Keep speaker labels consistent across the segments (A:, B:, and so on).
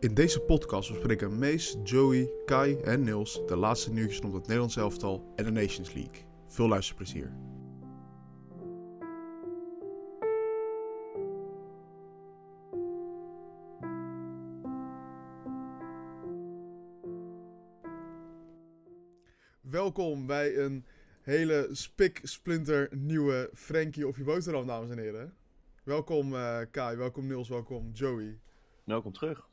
A: In deze podcast bespreken Mees, Joey, Kai en Niels de laatste nieuwtjes rond het Nederlands elftal en de Nations League. Veel luisterplezier. Welkom bij een hele spik splinter nieuwe Frankie of je boterham, dames en heren. Welkom eh, Kai, welkom Niels, welkom Joey.
B: Welkom Nou, terug.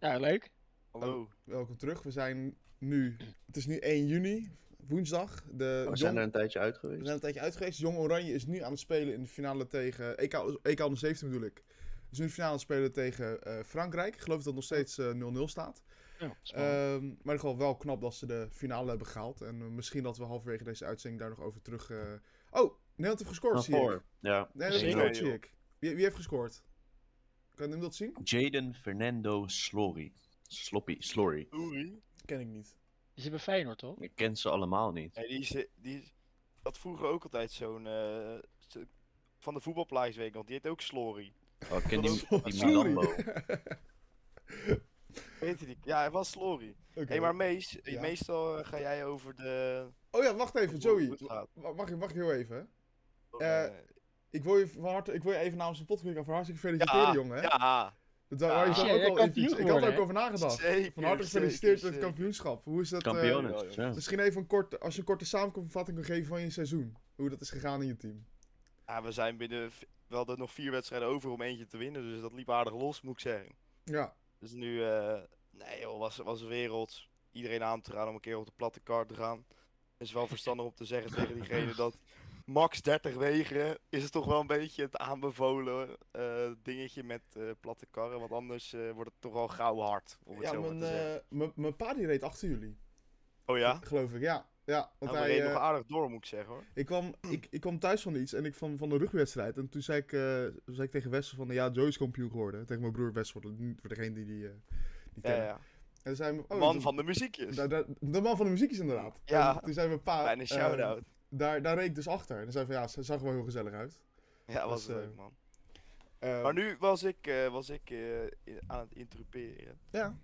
C: Ja, leuk.
A: Hallo. Welkom terug. We zijn nu, het is nu 1 juni, woensdag. De
B: Oh, We
A: Jong-
B: zijn er een tijdje uit
A: we
B: geweest.
A: zijn een tijdje uit geweest. Jong Oranje is nu aan het spelen in de finale tegen EK, EK onder 17 bedoel ik. Is nu in de finale aan het spelen tegen eh, Frankrijk. Ik geloof dat het nog steeds eh, 0-0 staat.
C: Ja, spannend.
A: Ehm, maar in ieder geval wel knap dat ze de finale hebben gehaald. En eh, misschien dat we halverwege deze uitzending daar nog over terug... eh, Oh, Nederland heeft gescoord, zie ik.
B: Voor. Ja.
A: Nee, dat
C: Zeker,
A: gescoord,
B: joh.
A: zie ik. Wie, wie heeft gescoord? Kan hem dat zien?
B: Jaden Fernando Slory. Sloppy, Slory.
D: Oeri.
A: Ken ik niet.
C: Is het bij Feyenoord, toch?
B: Ik ken ze allemaal niet.
D: Nee, die is, eh, die is, dat vroeger ook altijd zo'n. eh, zo- van de voetbalplaats weet ik nog, die heet ook Slory.
B: Oh, ik ken die,
A: Dat eh,
B: die
A: is-
B: Milambo.
D: Weet je die? Ja, hij was Slory.
A: Oké.
D: Hé, hey, maar Mees, eh,
A: Ja.
D: meestal eh, ga jij over de.
A: Oh ja, wacht even, Joey.
D: Hoe het gaat.
A: Wa- Wacht, wacht heel even.
D: Eh,
A: Ik wil je, van harte, ik wil je even namens de podcast van hartelijk feliciteren,
D: Ja,
A: jongen. hè.
D: ja,
A: Dat daar waren
D: Ja,
A: jullie
C: jij
A: zelf ook al eventjes-
C: kampioen
A: Ik had
C: geworden,
A: er ook
C: hè?
A: over nagedacht.
D: zeker,
A: Van harte gefeliciteerd met
D: zeker,
A: het kampioenschap. Hoe is dat? eh,
D: Ja,
B: Kampioenen.
D: joh.
B: ja.
A: misschien even een korte, als je een korte samenvatting kunt geven van je seizoen. Hoe dat is gegaan in je team.
D: zeker. Ja, we zijn binnen. v- We hadden nog vier wedstrijden over om eentje te winnen, dus dat liep aardig los, moet ik zeggen.
A: Ja,
D: Dus nu, eh, nee joh, was, was een wereld. Iedereen aan te gaan om een keer op de platte kaart te gaan. Is wel verstandig om te zeggen tegen diegene dat max 30 wegen is het toch wel een beetje het aanbevolen eh, dingetje met eh, platte karren. Want anders eh, wordt het toch wel gauw hard, om het
A: ja
D: zo maar
A: mijn,
D: te zeggen.
A: eh, mijn- mijn pa die reed achter jullie,
D: Oh ja?
A: geloof ik. Ja, ja want
D: Nou, we
A: hij,
D: reden
A: eh,
D: nog aardig door, moet ik zeggen hoor.
A: ik, kwam, ik, ik kwam thuis van iets en ik van, van de rugwedstrijd. En toen zei ik, eh, zei ik tegen Wessel van, ja, Joey is kampioen geworden. Tegen mijn broer Wessel, voor degene die die, eh, die
D: Ja,
A: kennen.
D: ja.
A: En toen zei hij, oh,
D: Man
A: dat- eh,
D: van de muziekjes.
A: Da- da- de man van de muziek is inderdaad.
D: Dus- Ja.
A: En toen zijn we een paar. ehm,
D: Bijna shout-out.
A: daar, daar reed ik dus achter. En dan zei ik van ja, ze zag er wel heel gezellig uit.
D: ja, was
A: dat, eh,
D: leuk man.
A: Eh,
D: Maar nu was ik, eh, was ik eh, in- aan het interruperen.
A: Ja.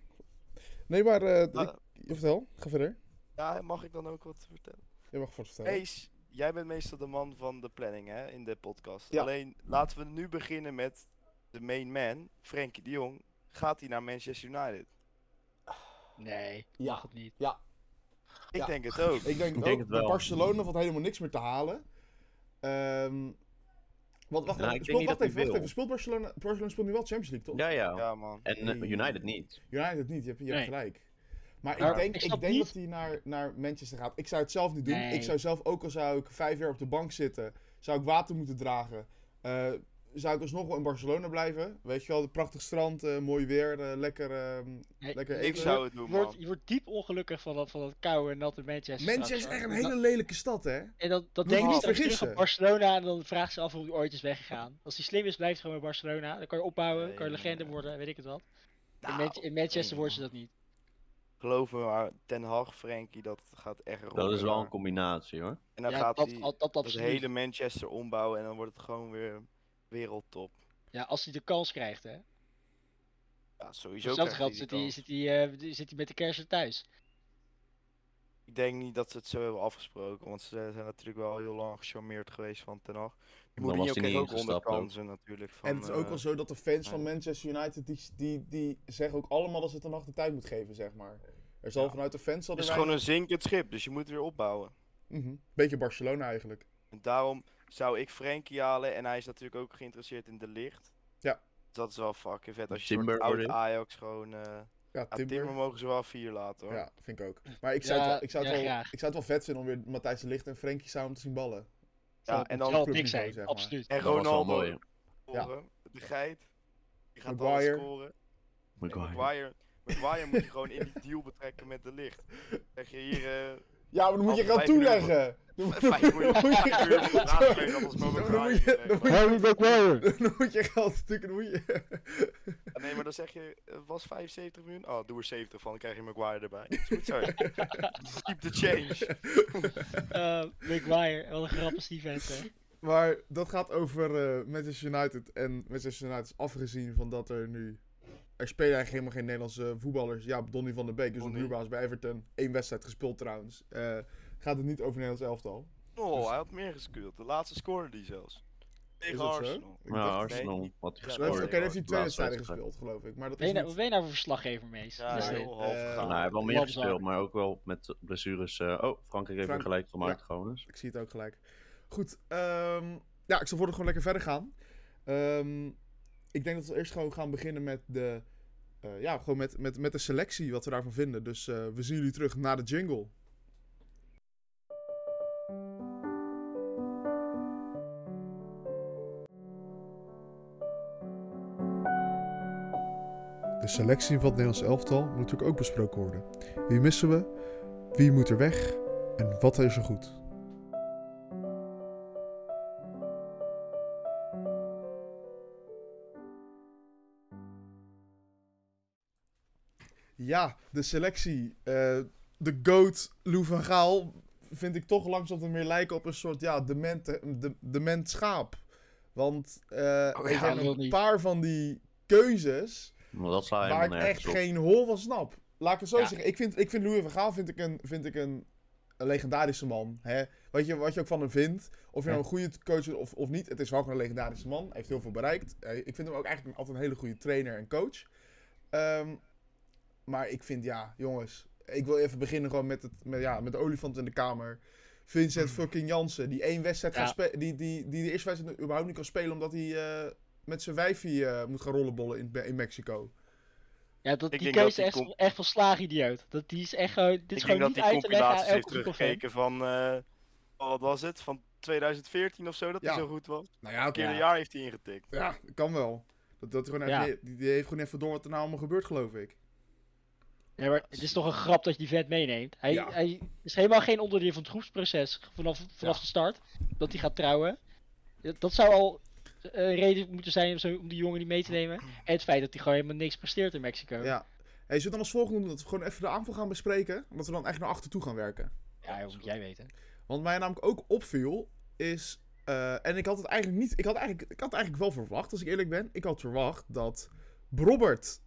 A: Nee, maar. eh ik-
D: Ah.
A: Vertel, ga verder.
D: Ja, mag ik dan ook wat vertellen?
A: Je mag vast vertellen.
D: Mees, jij bent meestal de man van de planning hè, in de podcast.
A: Ja.
D: Alleen laten we nu beginnen met de main man, Frenkie de Jong. Gaat hij naar Manchester United?
C: Nee,
A: Ja.
C: mag het niet.
D: Ik
A: Ja.
D: denk het ook.
A: Ik denk,
B: denk
A: ook,
B: het
A: dat
B: wel.
A: Barcelona valt helemaal niks meer te halen. Ehm wat, wacht,
B: Nou,
A: even,
B: ik denk
A: speelt-
B: niet
A: wacht
B: dat
A: even,
B: hij
A: wacht
B: wil.
A: even. Speelt Barcelona, Barcelona speelt nu wel Champions League, toch?
B: Ja, ja.
D: Ja, man.
B: En eh, United niet.
A: United niet, je hebt, je hebt
C: Nee.
A: gelijk. Maar ik
C: Maar
A: denk, ik
C: ik snap
A: denk
C: niet-
A: dat hij naar, naar Manchester gaat. Ik zou het zelf niet doen.
C: Nee.
A: Ik zou zelf, ook al zou ik vijf jaar op de bank zitten, zou ik water moeten dragen. eh, zou ik alsnog wel in Barcelona blijven. Weet je wel, het prachtig strand, eh, mooi weer, eh, lekker, ehm,
C: Nee,
A: lekker
D: Ik
A: eten.
D: zou het
C: Je
D: doen,
C: wordt,
D: man.
C: je wordt diep ongelukkig van dat, van dat koude en natte Manchester.
A: Manchester is
C: straks,
A: echt een
C: hoor.
A: hele
C: Dat-
A: lelijke stad, hè?
C: En dat, dat
A: Moet je
C: denk
A: niet
C: ik straks terug
A: vergissen.
C: op Barcelona en dan vraagt ze af hoe hij ooit is weggegaan. Als hij slim is, blijft hij gewoon bij Barcelona. Dan kan je opbouwen,
D: Nee,
C: kan je legende
D: nee.
C: worden, weet ik het wat. In,
D: Nou,
C: Man- in Manchester
D: nee.
C: wordt ze dat niet.
D: Geloof me maar, Ten Hag, Frenkie, dat gaat echt rocken,
B: Dat is wel
D: hoor.
B: een combinatie hoor.
D: En dan
C: ja,
D: gaat
C: dat,
D: hij
C: dat, dat
D: het
C: absoluut.
D: hele Manchester ombouwen en dan wordt het gewoon weer wereldtop.
C: Ja, als hij de kans krijgt, hè.
D: Ja, sowieso
C: Voor hetzelfde
D: krijgt hij
C: geld
D: die
C: zit hij,
D: kans.
C: zit, hij, eh, zit hij met de kerst thuis.
D: Ik denk niet dat ze het zo hebben afgesproken, want ze zijn natuurlijk wel heel lang gecharmeerd geweest van Ten Hag.
B: Dan
D: Mourinho
B: was hij
D: kreeg
B: niet
D: ook
B: ingestapt. ook.
D: onderkansen natuurlijk. Van,
A: en het is ook
D: eh,
A: wel zo dat de fans van
D: ja.
A: Manchester United, die, die, die zeggen ook allemaal dat ze het een nacht de tijd moet geven, zeg maar. Er zal
D: Ja.
A: vanuit de fans... Zal
D: Het
A: er
D: is
A: weinig-
D: gewoon een zinkend schip, dus je moet weer opbouwen.
A: Mhm. Beetje Barcelona eigenlijk.
D: En daarom zou ik Frenkie halen. En hij is natuurlijk ook geïnteresseerd in de licht.
A: Ja.
D: Dat is wel fucking vet. Als je
B: Timber
D: een soort oud
B: erin.
D: Ajax gewoon... eh ja,
A: Ja,
D: Timber.
A: Timber.
D: mogen ze wel vier laten hoor.
A: Ja, vind ik ook. Maar ik zou,
C: Ja,
A: het, wel, ik zou, het,
C: ja,
A: wel,
C: graag.
A: ik zou het wel vet vinden om weer Matthijs de Ligt en Frenkie samen te zien ballen.
D: Ja,
C: Dat
D: en dan
C: zal
A: club
C: niks
A: niveau,
C: zijn,
A: zeg maar.
C: absoluut.
D: en
B: Dat was wel
D: Ronaldo
B: mooi.
D: scoren. De geit. Die gaat alles
A: Maguire.
D: scoren. En
B: Maguire.
D: Maguire. Maguire moet je gewoon in die deal betrekken met de licht. Zeg je hier... eh
A: Ja, maar dan moet je
D: Altijd
A: gaan
D: vijf miljoen.
A: toeleggen. Dan moet-
D: vijf miljoen.
A: dan moet je-
D: Vijf miljoen op de laatste plek, dat was
A: Dan
D: Mo Maguire,
A: moet je-
D: zeg
A: dan
D: maar.
A: moet je-
C: Maguire!
A: Dan moet je geld stukken. dan moet je-
D: Nee, maar dan zeg je... Het was 75 miljoen? Oh, doe er 70 van. Dan krijg je Maguire erbij. Is goed zo. Keep the change.
C: Eh, Maguire, wat een grap is die vent, hè.
A: Maar dat gaat over eh Manchester United. En Manchester United is afgezien van dat er nu eh, Er spelen eigenlijk helemaal geen Nederlandse voetballers. Ja, Donny van der Beek is op
D: Donny.
A: huurbaas bij Everton. Eén wedstrijd gespeeld trouwens. Eh, gaat het niet over Nederlands elftal?
D: Oh, hij had meer gespeeld. De laatste scoorde die zelfs.
A: Is
D: Tegen
A: dat zo?
D: Arsenal.
A: Ik
B: Nou,
A: dacht-
B: Arsenal had
D: Ja,
A: Hij heeft-
B: gescoord.
A: Oké,
D: Sorry,
A: daar heeft hij
B: hoor.
A: twee
B: Laatste
A: wedstrijden
B: wedstrijd.
A: gespeeld, geloof ik. Maar dat
C: Ben
A: is
C: je nou,
A: Dus niet...
C: ben je nou voor verslaggever, Mees?
D: Ja,
C: Dat is
A: nee.
C: het.
D: heel half
A: Eh,
D: gegaan.
B: Nou, hij heeft wel meer
C: Lapzak.
B: gespeeld, maar ook wel met blessures. eh, oh, Frankrijk heeft
A: Frank-
B: weer gelijk gemaakt gewoon eens.
A: Ik zie het ook gelijk. Goed, ehm, ja, ik zal voor de gewoon lekker verder gaan. Ehm, ik denk dat we eerst gewoon gaan beginnen met de, eh, ja, gewoon met, met, met de selectie, wat we daarvan vinden. Dus eh, we zien jullie terug na de jingle. De selectie van het Nederlands elftal moet natuurlijk ook besproken worden. Wie missen we? Wie moet er weg? En wat is er goed? Ja, de selectie. Eh, de GOAT Lou van Gaal vind ik toch langzaam meer lijken op een soort ja, dement, de, dement schaap. Want eh, er
D: ja,
A: zijn
C: Oh wil
A: een
C: niet.
A: paar van die keuzes
B: Maar dat sla
A: waar
B: helemaal
A: ik echt
B: nergens op.
A: geen hol van snap. Laat ik het zo
C: Ja.
A: zeggen. Ik vind, ik vind Louis van Gaal vind ik een, vind ik een, een legendarische man. Hè? Wat, je, wat je ook van hem vindt. Of je nou een goede coach bent of, of niet. Het is wel gewoon een legendarische man. Hij heeft heel veel bereikt. Eh, Ik vind hem ook eigenlijk altijd een hele goede trainer en coach. Ehm, maar ik vind, ja, jongens. Ik wil even beginnen gewoon met, het, met, ja, met de olifant in de kamer. Vincent
B: Hmm.
A: fucking Jansen. Die één wedstrijd
C: Ja.
A: gaat spe- Die, die, die de eerste wedstrijd überhaupt niet kan spelen. Omdat hij eh, met zijn wijfie eh, moet gaan rollenbollen in, in Mexico.
C: Ja, dat,
D: Ik
C: die
D: denk dat
C: keuze
D: die
C: is
D: com-
C: echt, echt van slaagidioot. Dat, die is echt gewoon, dit is
D: Ik denk
C: gewoon
D: dat
C: niet
D: die
C: uit te leggen aan
D: compilaties heeft
C: elke voetbalfan.
D: teruggekeken van... eh, wat was het? Van 2014 of zo, dat hij
A: Ja.
D: zo goed was.
A: Nou ja,
D: Een keer
A: oké.
D: een jaar heeft hij ingetikt.
A: Ja, kan wel. Dat, dat gewoon even-
C: Ja.
A: die, die heeft gewoon even door wat er nou allemaal gebeurt, geloof ik.
C: Ja, maar het is toch een grap dat je die vet meeneemt. Hij,
A: Ja.
C: hij is helemaal geen onderdeel van het groepsproces vanaf, vanaf de start. Dat hij gaat trouwen. Dat- Dat zou al een reden moeten zijn om, zo, om die jongen niet mee te nemen. En het feit dat hij gewoon helemaal niks presteert in Mexico.
A: Ja. Hey, zullen we dan als volgende doen dat we gewoon even de aanval gaan bespreken? Omdat we dan echt naar achter toe gaan werken.
C: Ja, joh, moet jij weten.
A: Want mij namelijk ook opviel is... eh, en ik had het eigenlijk niet... Ik had, eigenlijk, ik had eigenlijk wel verwacht, als ik eerlijk ben. Ik had verwacht dat Robert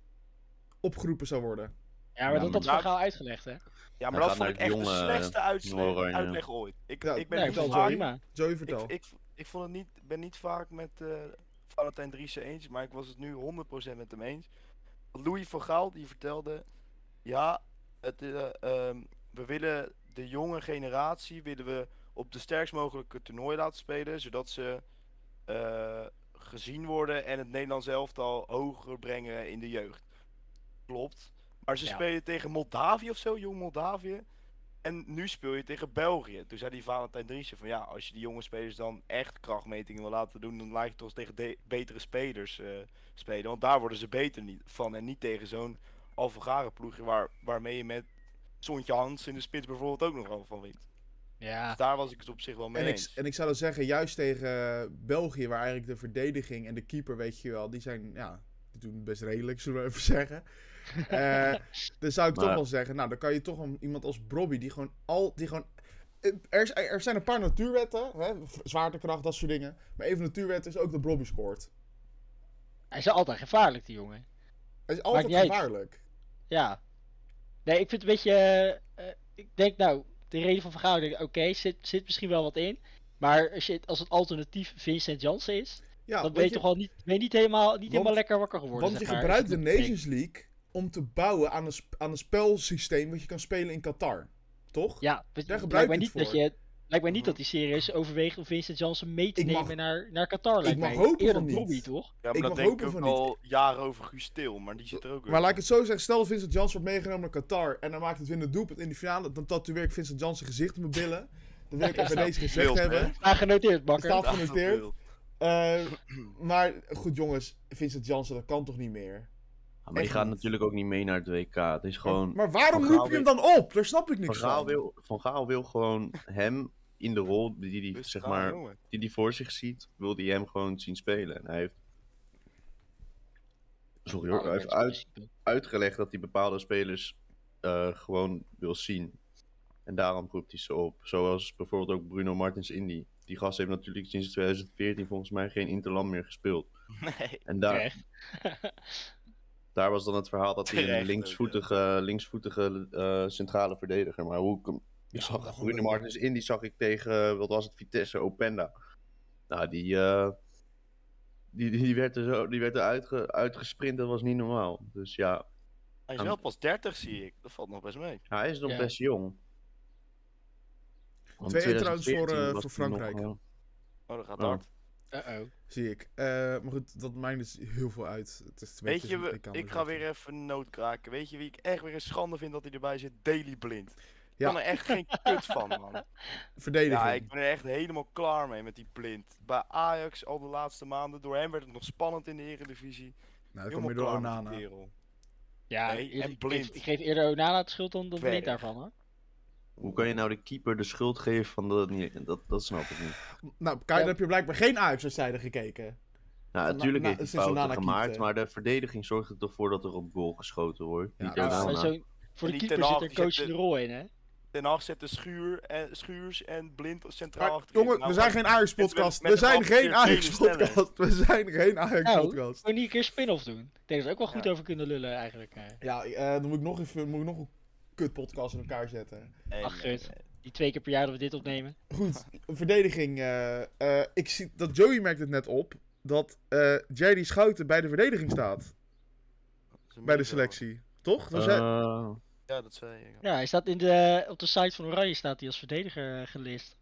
A: opgeroepen zou worden.
C: Ja, maar
B: Ja,
C: dat
B: maar
C: had Van
D: daar-
C: Gaal uitgelegd, hè?
D: Ja, maar
B: Hij
D: dat
B: gaat
D: vond
B: naar
D: ik echt
B: jonge,
D: de
B: eh,
D: slechte uitsle-
B: Noorwegen, ja.
D: uitleg ooit. Ik,
A: Ja,
D: ik ben
C: Ja, ik
D: niet
C: vond het wel
D: vaak...
C: prima.
A: Joey,
D: Ik,
A: vertel.
D: ik, ik vond het niet, ben niet vaak met eh Valentijn Driessen eens, maar ik was het nu 100% met hem eens. Louis van Gaal die vertelde, ja, het, eh, ehm, we willen de jonge generatie willen we op de sterkst mogelijke toernooi laten spelen, zodat ze eh, gezien worden en het Nederlands elftal hoger brengen in de jeugd. Klopt. Maar ze
C: Ja.
D: spelen tegen Moldavië of zo, jong Moldavië. En nu speel je tegen België. Toen zei die Valentijn Driessen van ja, als je die jonge spelers dan echt krachtmetingen wil laten doen, dan laat je toch tegen de- betere spelers eh, spelen. Want daar worden ze beter niet van. En niet tegen zo'n alvagare ploegje waar, waarmee je met Sontje Hans in de spits bijvoorbeeld ook nog wel van wint. Dus
C: Ja,
D: daar was ik het op zich wel mee
A: Ah. En ik,
D: eens.
A: en ik zou dan zeggen, juist tegen eh, België, waar eigenlijk de verdediging en de keeper, weet je wel, die zijn, ja, die doen best redelijk, zullen we even zeggen. Eh, dan zou ik toch
B: Maar-
A: wel zeggen, nou, dan kan je toch een, iemand als Bobby, die gewoon al, die gewoon... eh, Er, is- er zijn een paar natuurwetten, hè, v- zwaartekracht, dat soort dingen. Maar een van de natuurwetten is ook dat Bobby scoort.
C: hij is altijd gevaarlijk, die jongen.
A: Hij is altijd
C: niet uit.
A: gevaarlijk.
C: Ja. Nee, ik vind het een beetje. eh, eh, ik denk nou, de reden van Van Gaal, ik denk, oké, zit, zit misschien wel wat in. Maar als, je, als het alternatief Vincent Jansen is,
A: Ja,
C: dan
A: want
C: ben je,
A: Ah, je-
C: toch al niet, ben je niet helemaal, niet helemaal
A: want-
C: lekker wakker geworden.
A: Want je
C: zeg maar,
A: gebruikt de
C: als je dat
A: Nations League om te bouwen aan een, sp- aan een spelsysteem wat je kan spelen in Qatar. Toch?
C: bedenkt. Ja, weet-
A: gebruik
C: lijkt
A: je
C: mij
A: het
C: niet dat
A: voor.
C: je. Lijkt mij niet
D: Mhm.
C: dat hij serieus overweegt om Vincent Jansen mee te
A: Ik mag-
C: nemen naar, naar Qatar. Lijkt
A: mag
C: mij.
A: hopen
C: Eerder
A: van niet.
C: Bobby, toch?
D: Ja, maar
A: ik
D: dat
A: mag
D: denk
A: hopen
D: ik ook
A: van
D: al jaren over Guus Til, maar die zit er ook weer.
A: Maar laat ik het zo zeggen, stel Vincent Janssen wordt meegenomen naar Qatar en dan maakt het winnend doelpunt in de finale, dan tatoeëer ik Vincent Janssen gezicht op mijn billen. Dat wil ik even bij deze gezegd
D: Wild, hè?
A: hebben.
C: Maar Ah, genoteerd, bakker.
A: Staat-
D: Ja, dat
A: genoteerd.
D: wil.
A: Eh, maar goed jongens, Vincent Janssen, dat kan toch niet meer?
B: Ja, maar die
A: Echt
B: gaat
A: niet.
B: natuurlijk ook niet mee naar het WK. Het is gewoon...
A: Maar waarom
B: Van
A: roep
B: Gaal
A: je hem dan op? Daar snap ik
B: Van
A: niks
B: Gaal,
A: van.
B: wil, van Gaal wil gewoon hem in de rol die die,
D: Dus
B: zeg
D: ja,
B: maar,
D: jongen.
B: die die voor zich ziet, wil hij hem gewoon zien spelen. En hij heeft... Sorry hoor, hij
C: Ah,
B: heeft uit, uitgelegd dat hij bepaalde spelers eh, gewoon wil zien. En daarom roept hij ze op. Zoals bijvoorbeeld ook Bruno Martins Indy. Die gast heeft natuurlijk sinds 2014 volgens mij geen Interland meer gespeeld.
D: Nee.
B: En daar,
C: Oké.
B: Daar was dan het verhaal dat hij een
D: Terecht
B: linksvoetige, linksvoetige eh, centrale verdediger. Maar hoe ik hem.
A: Ja,
B: Ik zag
A: gewoon
B: Bruno
A: een-
B: Martens in, die zag ik tegen, eh, wat was het, Vitesse Openda. Nou, die, eh, die, die, die werd er, zo, die werd er uitge, uitgesprint, dat was niet normaal. Dus ja,
D: Hij is wel pas 30, zie ik. Dat valt nog best mee.
B: hij is nog
C: Ja.
B: best jong. Want
A: 2-1 trouwens voor,
B: 2014
A: eh,
B: was
A: voor
B: hij nog,
A: Frankrijk.
B: eh,
D: Oh, dat gaat
B: Oh.
D: hard.
C: Uh-oh.
A: Zie ik. Eh, maar goed, dat maakt dus heel veel uit. Het is twee
D: Weet je,
A: tussen-
D: we-
A: kan
D: ik
A: er
D: ga
A: zeggen.
D: weer eh, even noodkraken. Weet je wie ik echt weer een schande vind dat hij erbij zit? Daily Blind. Ik
A: Ja.
D: kan er echt geen kut van, man.
A: Verdediging.
D: Ja, ik ben er echt helemaal klaar mee met die Blind. Bij Ajax al de laatste maanden, door hem werd het nog spannend in de Eredivisie.
A: nou, dat kom
D: Helemaal
A: je door
D: klaar met
A: Onana.
D: die kerel.
C: Ja,
D: Nee,
C: eerlijk,
D: en
C: ik,
D: blind.
C: geef- ik geef eerder Onana het schuld dan, dan
D: Dwerg.
C: blind daarvan hoor.
B: Hoe kan je nou de keeper de schuld geven van dat niet? Dat, dat snap ik niet.
A: Nou, Kai, dan heb je blijkbaar geen Ajax-zijde gekeken.
B: Nou, natuurlijk
A: na-
B: heeft hij
A: sinds eh.
B: fouten
A: Onana
B: gemaakt,
A: keepte.
B: maar de verdediging zorgt er toch voor dat er op goal geschoten wordt.
A: Ja,
B: niet
A: dat is-
C: Maar
B: Onana.
C: zo, voor de
D: die Ten
C: keeper zit
D: Hag,
C: er een
D: die zet
C: coachende
D: de-
C: rol in hè.
D: Den Haag zette schuur en, Schuurs en Blind centraal
A: Maar,
D: achterin.
A: jongen,
D: Nou,
A: we zijn
D: wat-
A: geen Ajax-podcast. We
D: met- met een
A: zijn geen
D: afgekeerd
A: Ajax-podcast. We zijn geen Ajax-podcast.
C: Kun je niet een keer spin-off doen? Ik denk dat we ook wel goed
D: Ja.
C: over kunnen lullen eigenlijk. eh.
A: Ja, eh, dan moet ik nog even moet ik nog een kut-podcast in elkaar zetten.
D: Nee,
C: Ach,
D: nee,
C: Geurt.
D: nee.
C: Die twee keer per jaar dat we dit opnemen.
A: Goed, verdediging. eh, eh, ik zie dat Joey merkt het net op. Dat eh JD Schouten bij de verdediging staat.
D: Dat is
A: Bij de
D: een
A: selectie. Toch? Dat zei-
B: Eh,
D: meevaller. Ja, dat zei je.
C: Ja, hij staat in de, op de site van Oranje staat hij als verdediger eh, gelist.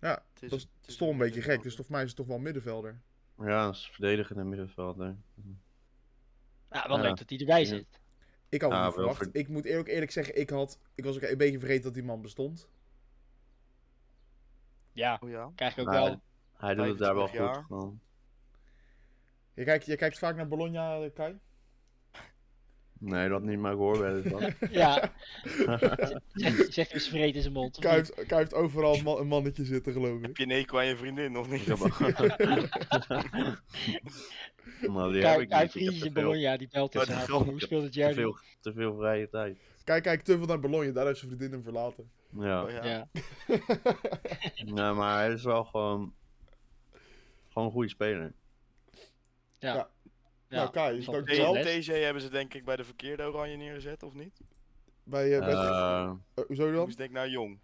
A: ja,
D: Het is-
A: dat is,
D: het is
A: toch een beetje gek.
D: middenvelder.
A: Dus volgens mij is het toch wel een middenvelder.
B: ja, dat is verdedigend en middenvelder.
C: Nou, wel
B: Ja.
C: leuk dat hij erbij
B: Ja.
C: zit.
A: Ik had het
B: Ja,
A: niet
B: wel
A: verwacht.
B: verd-
A: Ik moet eerlijk, eerlijk zeggen, ik, had, ik was ook een beetje vergeten dat die man bestond.
C: Ja,
D: Oh ja?
C: krijg ik ook
B: Maar
C: wel.
B: Hij doet het daar wel
D: 25 jaar.
B: goed gewoon.
A: Je kijkt, je kijkt vaak naar Bologna, eh, Kai.
B: Nee, dat niet, maar ik hoor wel eens wat.
C: Ja. Zegt zeg eens vreed in zijn mond. of
A: Kai
C: niet?
A: heeft, Kai heeft overal een ma- een mannetje zitten, geloof
D: Heb
A: ik.
D: je een hekel aan je vriendin of niet?
B: Ik heb maar Nou, die heb
C: Kai
B: ik
C: Kai
B: niet. Ik heb
C: Vries
B: te veel,
C: in Bologna, die belt
D: Maar
C: dus
D: die
C: aan.
D: grap-
C: Hoe speelde
B: te,
C: Jerry?
B: veel, te veel vrije tijd.
A: Kai kijkt te veel naar Bologna, daar heeft zijn vriendin hem verlaten.
B: Ja,
D: Oh ja.
C: Ja.
B: Nee, maar hij is wel gewoon... Gewoon een goede speler.
C: Ja.
A: Ja. Nou, Kai,
C: dat
A: dank
C: is wel
A: je
C: les.
D: TC hebben ze denk ik bij de verkeerde oranje neergezet, of niet?
A: Bij, eh, bij-
B: Eh,
A: eh, hoezo
D: Ik
A: dan?
D: moest denk naar Jong.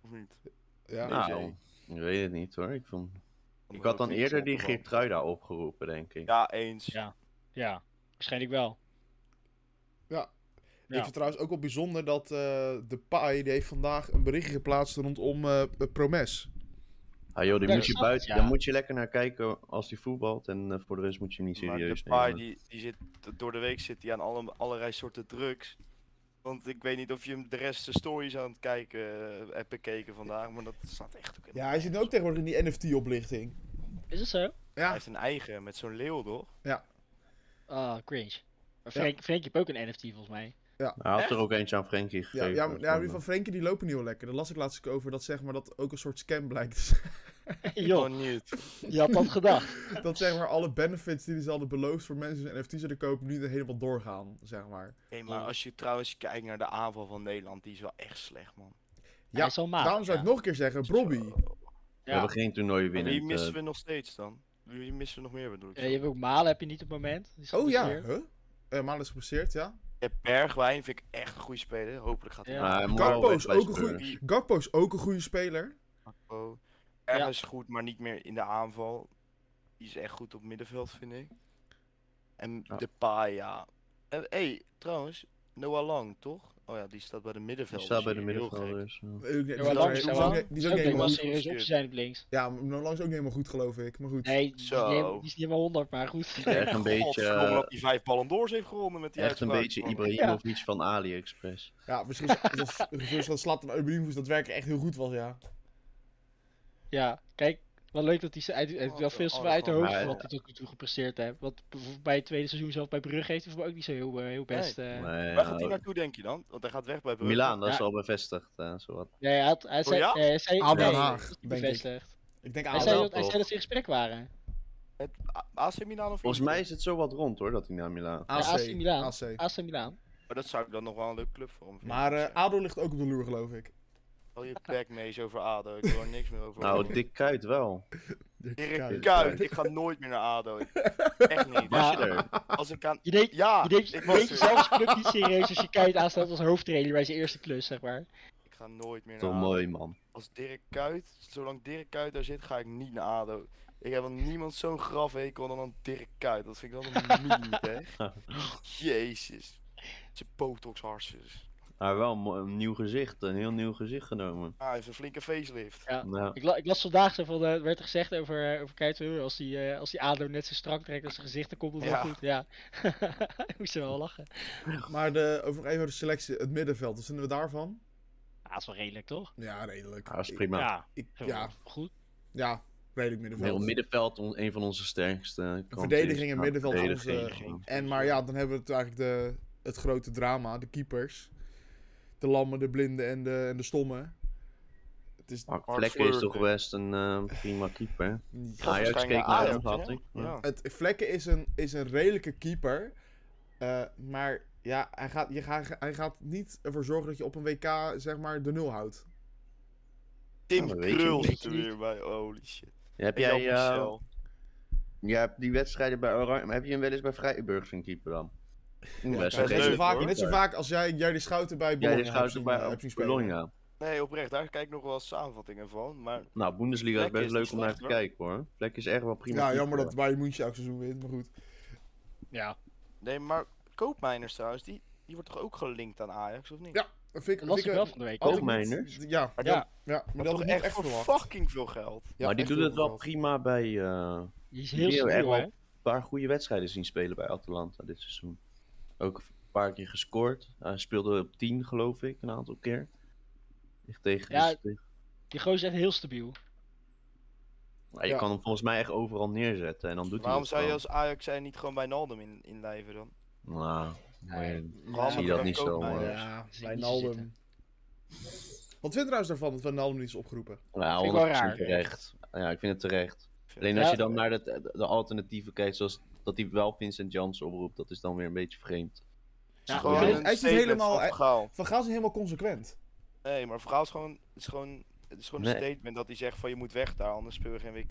D: Of niet?
A: Ja.
D: nee,
B: nou,
D: zei-
B: ik weet het niet hoor. Ik, vond...
D: Dan
B: ik
D: wordt
B: had
D: ook
B: dan
D: niks
B: eerder die
D: opgevallen.
B: Geertruida opgeroepen, denk ik.
D: Ja, eens.
C: Ja. Ja, waarschijnlijk wel.
A: Ik vind het trouwens ook wel bijzonder dat eh de Pai, die heeft vandaag een berichtje geplaatst rondom eh Promes.
B: Ah joh, die
C: Ja,
B: moet je
C: dat snap ik,
B: buiten.
C: ja.
B: Daar moet je lekker naar kijken als die voetbalt. En eh, voor de rest moet je hem niet
D: Maar
B: serieus
D: Depay,
B: nemen.
D: die, die zit door de week zit hij aan alle, allerlei soorten drugs. Want ik weet niet of je hem de rest de stories aan het kijken eh, hebt bekeken vandaag, maar dat staat echt ook in.
A: Ja, hij zit nu ook tegenwoordig in die NFT-oplichting.
C: Is het zo?
D: Hij
A: Ja,
D: heeft een eigen met zo'n leeuw, toch?
C: Ah, cringe. Maar Frank, Frank heeft ook een NFT volgens mij.
B: Hij had
D: Echt?
B: er ook eentje aan Frenkie
A: ja,
B: gegeven. eh,
A: ja, maar- ja, die
B: van-
A: van Frenkie die lopen niet heel lekker. Daar las ik laatst ook over dat zeg maar dat ook een soort scam blijkt. te zijn.
C: Joh,
D: Oh, niet.
C: je had dat gedacht.
A: dat zeg maar alle benefits die ze hadden beloofd voor mensen die een NFT zouden kopen, nu helemaal doorgaan, zeg maar.
D: Hey, maar als je trouwens kijkt naar de aanval van Nederland, die is wel echt slecht, man.
A: Ja,
C: Hij is wel maat,
A: Daarom zou
C: ja.
A: ik nog een keer zeggen, Bobby.
B: We
C: Ja.
B: hebben geen eh, toernooi
D: Maar
B: winnen.
D: Wie missen we nog steeds dan? Wie missen we nog meer, bedoel ik?
C: Eh, je hebt ook Malen heb je niet op het moment. Die is
A: Oh ja,
C: geblesseerd.
A: huh? Eh Maan is geblesseerd, ja.
D: Ja, Bergwijn vind ik echt een goede speler. Hopelijk gaat hij
C: Ja.
D: naar
A: Gakpo is ook een goede-
D: die
A: Gakpo is ook een goede speler.
D: Gakpo. Ergens goed, maar niet meer in de aanval. Die is echt goed op middenveld, vind ik. En
B: Ja.
D: de Depay, ja. En, hey, trouwens, Noah Lang, toch? Oh ja, die staat bij de
B: Die
D: middenvelders.
B: staat bij de
D: hier, heel
B: middenvelders. ja.
A: Eh, die- die-
C: Ja, maar lang
A: die-
C: is
A: die-
C: hij
A: die-
C: wel.
A: die- die is ook
C: Ook
A: niet helemaal
C: denk ik wel
D: helemaal
C: serieus
D: goed.
C: op te zijn op links.
A: Ja, maar Nolan is ook niet helemaal goed, geloof ik. Maar goed.
C: Nee, die is, niet
D: Zo.
C: helemaal, die is niet helemaal 100, maar goed.
D: gek.
B: Echt een beetje,
D: Godverdomme
B: eh,
D: dat hij vijf Ballon d'Ors heeft gewonnen met die
B: Echt een
D: uitspraak,
B: beetje
D: man.
B: Ibrahimovic van AliExpress.
A: Ja, misschien is- dat- misschien is dat Slatan Ibrahimovic dat werk echt heel goed was, ja.
C: Ja, kijk, wel leuk dat hij ze- hij doet- hij doet wel
D: Oh,
C: veel
D: oh,
C: te veel uit de
D: oh,
C: hoogte
B: maar-
C: van wat hij tot nu toe gepresteerd heeft. Want bijvoorbeeld bij het tweede seizoen zelf bij Brugge heeft hij voor mij ook niet zo heel, eh, heel best. eh. Nee,
B: Maar,
D: Waar gaat hij
B: eh,
D: naartoe, denk je dan? Want hij gaat weg bij Brugge.
B: Milaan, dat is
C: Ja.
B: al bevestigd. eh, zowat.
C: hij had, hij zei,
D: ja?
C: eh, hij zei,
A: ADO
C: nee,
A: Den Haag,
C: dat is niet
A: denk ik.
C: bevestigd.
A: Ik denk
C: Hij
A: aan
C: zei,
B: wel,
C: dat, hij
B: toch?
C: zei dat ze in gesprek waren.
D: A- AC Milaan of
B: Volgens
D: Inter?
B: mij is het zo wat rond hoor, dat hij naar Milaan.
A: AC.
C: AC Milan.
A: AC.
C: AC Milan.
A: eh,
D: Maar dat zou ik dan nog wel een leuk club voor hem vinden.
A: Maar eh, ADO ligt ook op de loer, geloof ik.
D: Al je backmees over ADO, ik wil er niks meer over
B: Nou,
D: horen.
B: Dick Kuyt wel.
D: Erik
B: Kuyt.
D: Kuyt, ik ga nooit meer naar ADO. Echt niet.
B: Was
C: Ja.
B: je er?
D: Als ik aan...
C: Je deed,
D: Ja,
C: je deed,
D: ik
C: je
D: was
C: deed
D: er.
C: jezelf als club niet serieus als je Kuyt aanstelt als hoofdtrainer bij zijn eerste klus, zeg maar.
D: Ik ga nooit meer naar
B: Toch
D: ADO.
B: mooi, man.
D: Als Dirk Kuyt, zolang Dirk Kuyt daar zit, ga ik niet naar ADO. Ik heb aan niemand zo'n grafhekel dan aan Dirk Kuyt. Dat vind ik wel een meme, hè. Jezus. Zijn botox harsjes.
B: Maar Nou, wel een mooi- een nieuw gezicht, een heel nieuw gezicht genomen.
D: Ah, hij heeft een flinke facelift.
C: Ja.
B: Nou,
C: Ik, la- ik las vandaag zo van, eh, werd er gezegd over, eh, over Kuyt, eh, als die, eh, als die ADO net zo strak trekt als zijn gezicht, dan komt het
D: Ja.
C: wel goed. Ja, ik moest er wel lachen.
A: Maar de, over nog even over de selectie, het middenveld, wat vinden we daarvan?
C: Ja, dat is wel redelijk, toch?
A: Ja, redelijk.
B: dat is prima.
C: ja,
A: Ik, ik-
C: ja.
A: ja,
C: goed.
A: ja, redelijk
B: Heel
A: middenveld.
B: middenveld, on- een van onze sterkste. kanten
A: verdediging
B: is.
A: en
B: Ja,
A: middenveld, eh,
B: verdediging,
A: alles,
B: ja.
A: En maar ja, dan hebben we het eigenlijk de, het grote drama, de keepers. De lammen, de blinden en de, en de stommen. Het is,
B: Mark
D: Mark
B: Vlekken is
D: Fleur.
B: toch best een eh, prima keeper.
A: ja,
D: Gaat
B: Ajax
D: waarschijnlijk
B: keek
D: naar
B: naar hem,
D: Ajax,
B: had
D: hè?
B: ik. Ja.
D: Ja.
A: het, Vlekken is een, is een redelijke keeper. Eh, maar ja, hij gaat, je gaat, hij gaat niet ervoor zorgen dat je op een WK zeg maar de nul houdt.
D: Tim
B: Ja, dat weet je
D: Krul
B: niet.
D: zit er weer bij. Holy shit.
B: Heb
D: En Jan
B: jij eh,
D: Michel.
B: jij hebt die wedstrijden bij Oranje, maar heb je hem wel eens bij Vrijburg zien keeper dan? Ja,
A: Net
B: best
A: zo,
B: een
D: dat is leuk,
A: vaak,
D: hoor.
A: net zo vaak als jij, jij die schouten bij
B: Jij
A: Bologna
B: ja,
A: hebt
B: schouten
A: zien-
B: bij
A: hebt zien spelen.
B: Bologna.
D: Nee, oprecht, daar kijk ik nog wel eens samenvattingen van. Maar
B: Nou, Bundesliga is
D: Vlek
B: best
D: is
B: leuk
D: niet
B: om naar
D: slecht,
B: te
D: hoor.
B: kijken hoor. Vlek is echt wel prima.
A: Ja,
B: keeper.
A: jammer dat Bayern München elk seizoen wint, maar goed.
C: Ja.
D: nee, maar Koopmeiners trouwens, die, die wordt toch ook gelinkt aan Ajax, of niet?
A: Ja, Dat vind ik...
C: Dat las
A: vind
C: ik
A: ik-
C: wel van de week.
A: had ik niet-
B: Koopmeiners?
A: Ja,
D: Maar
A: ja,
C: Ja.
A: ja, maar
D: Maar
A: dat
D: toch
A: had ik niet
D: echt
A: echt
D: voor
A: verwacht.
D: fucking veel geld.
A: Ja,
B: maar die
A: echt
B: doet het
A: heel
B: wel
A: veel.
B: prima bij eh, een
C: Die is heel
B: Die hebben echt
C: stabiel,
B: wel-
C: hè?
B: paar goede wedstrijden zien spelen bij Atalanta dit seizoen. Ook een paar keer gescoord. Hij speelde op 10 geloof ik, een aantal keer. Echt tegen.
C: Ja.
B: tegen-
C: Die gozer is echt heel stabiel.
B: Maar je
A: Ja.
B: kan hem volgens mij echt overal neerzetten en dan doet
D: Waarom
B: hij dat
D: zou je
B: wel.
D: als Ajax zijn niet gewoon bij Naldum in, inlijven dan?
B: Nou, nee.
D: Waarom
B: zie
D: moet
B: dat
D: er
B: niet
D: ook
B: zo,
D: bij?
B: hoor.
A: Ja,
C: Zie
A: bij
C: Dus ik niet
A: Naldum.
C: zitten.
A: Wat vindt je trouwens daarvan dat Van Naldum niet is opgeroepen?
B: Nou,
C: Vind ik wel
B: 100%
C: raar.
B: terecht. Ja, ik vind het terecht.
D: Ik vind
B: Alleen
D: het-
B: als je
C: Ja.
B: dan naar de, de, de alternatieven kijkt, zoals dat hij wel Vincent Janssen oproept, dat is dan weer een beetje vreemd.
D: het is
C: Ja, hij
D: gewoon
C: zit-
D: een
A: hij zit
D: statement
A: helemaal-
D: van
A: hij-
D: Van Gaal.
A: Van Gaal is niet helemaal consequent.
D: Nee, maar Van Gaal is gewoon, het is gewoon, het is gewoon een
B: Nee.
D: statement dat hij zegt van je moet weg daar, anders speel je geen WK.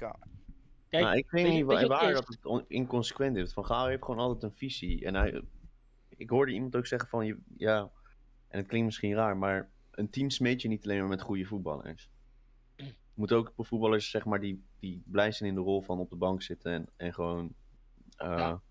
C: Kijk,
B: nou, ik weet
C: weet je-
B: niet
C: weet
B: waar,
C: je wat
B: waar
C: is?
B: dat het on- inconsequent is. Van Gaal heeft gewoon altijd een visie. En hij, ik hoorde iemand ook zeggen van, je, ja, en het klinkt misschien raar, maar een team smeet je niet alleen maar met goede voetballers. Je moet ook voetballers, zeg maar, die, die blij zijn in de rol van op de bank zitten en, en gewoon... eh
C: Ja.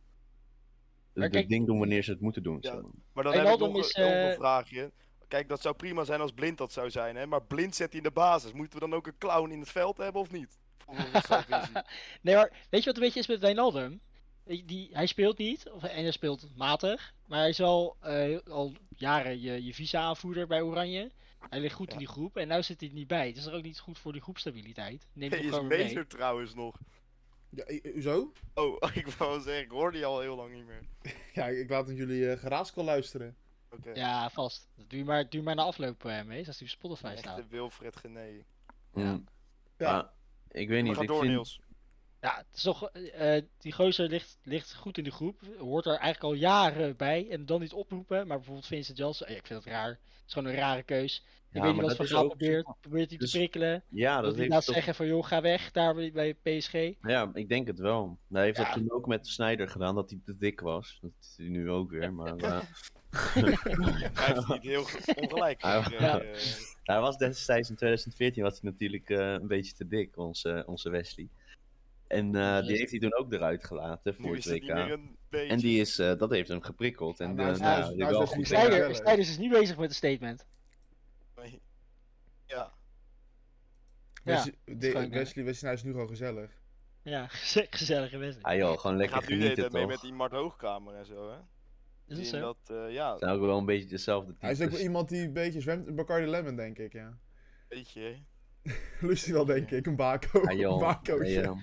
C: Maar
B: Het
C: kijk-
B: ding doen wanneer ze het moeten doen.
D: Ja.
B: zeg maar.
D: Maar dan
C: En
D: heb ik nog,
C: Wijnaldum
D: een-
C: is,
D: nog een
C: eh,
D: vraagje. Kijk, dat zou prima zijn als Blind dat zou zijn, hè? maar Blind zet hij in de basis. Moeten we dan ook een clown in het veld hebben of niet? Volgens ons zijn visie.
C: nee, maar weet je wat een beetje is met Wijnaldum? Die, die, hij speelt niet, of, en hij speelt matig. Maar hij is wel eh, al jaren je, je visa-aanvoerder bij Oranje. Hij ligt goed
D: Ja.
C: in die groep en nu zit hij er niet bij. Het is er ook niet goed voor die groepstabiliteit. Neem
D: Hij
C: hem
D: is
C: gewoon mee.
D: meester trouwens nog.
A: Ja, i- i- hoezo?
D: Oh, ik wou zeggen, ik hoorde die al heel lang niet meer.
A: Ja, ik, ik laat dat jullie eh geraaskel luisteren.
D: Oké.
C: Ja, vast. Doe je maar, doe je maar na afloop eh, mee, als die op Spotify staat.
D: Echte Wilfred Genee.
C: Ja.
B: Mm.
A: Ja.
B: Ja, ik weet
D: We
B: niet.
D: gaan
B: Ik
D: door,
B: vind,
D: Niels.
C: Ja, het is toch, eh, eh, die gozer ligt, ligt goed in de groep. Hoort er eigenlijk al jaren bij. En dan niet oproepen. Maar bijvoorbeeld Vincent Janssen. eh, ik vind dat raar. Het is gewoon een rare keus. Ik
B: Ja,
C: weet niet
B: maar dat
C: wat Van
B: is
C: Gaal
B: ook-
C: probeert. Probeert hij
B: dus-
C: te prikkelen.
B: ja,
C: dat
B: dat
C: hij
B: heeft
C: laat
B: toch,
C: zeggen van joh, ga weg daar bij, bij PSG.
B: ja, ik denk het wel. Hij heeft
C: Ja.
B: dat toen ook met Snyder gedaan, dat hij te dik was. Dat is hij nu ook weer. Maar eh,
D: Hij heeft niet heel ge- ongelijk.
B: Ja.
D: gekregen,
C: Ja.
D: eh.
B: hij was destijds in 2014 was hij natuurlijk eh, een beetje te dik, onze, onze Wesley. En eh, die
C: Wesley.
B: heeft hij toen ook eruit gelaten voor
D: Nu
B: het
D: is het niet
B: WK.
D: meer een beetje.
B: En die is, eh, dat heeft hem geprikkeld. En
A: Ja, nou is-
B: eh,
A: nou
B: nou,
A: is-
B: die
A: nou is
B: wel
A: Wesley
B: goed
A: Sneijder-
B: gedaan.
C: Snyder,
A: Sneijder.
C: Snyder is niet bezig met een statement.
D: Ja.
C: Ja,
A: Wesley, de-
C: gewoon, eh,
A: Wesley, Wesley hij is nu gewoon gezellig.
C: Ja, geze- gezellige
B: Ah
C: wedstrijd.
B: joh, gewoon
D: Hij
B: lekker
D: gaat nu de hele
B: genieten
D: tijd mee
B: toch.
D: met die Mart Hoogkamer en zo, hè?
C: Is
D: Die
C: dat
D: in
C: zo?
D: dat, eh, ja,
B: Het zijn ook wel een beetje dezelfde
A: Hij
C: dus-
A: is ook wel
B: types.
A: iemand die een beetje zwemt in Bacardi Lemon, denk ik, ja.
D: weet je.
A: Lust hij wel, denk ik, een bako.
B: Ah
A: een
B: joh,
A: bako,
B: hij,
A: ja.
B: eh,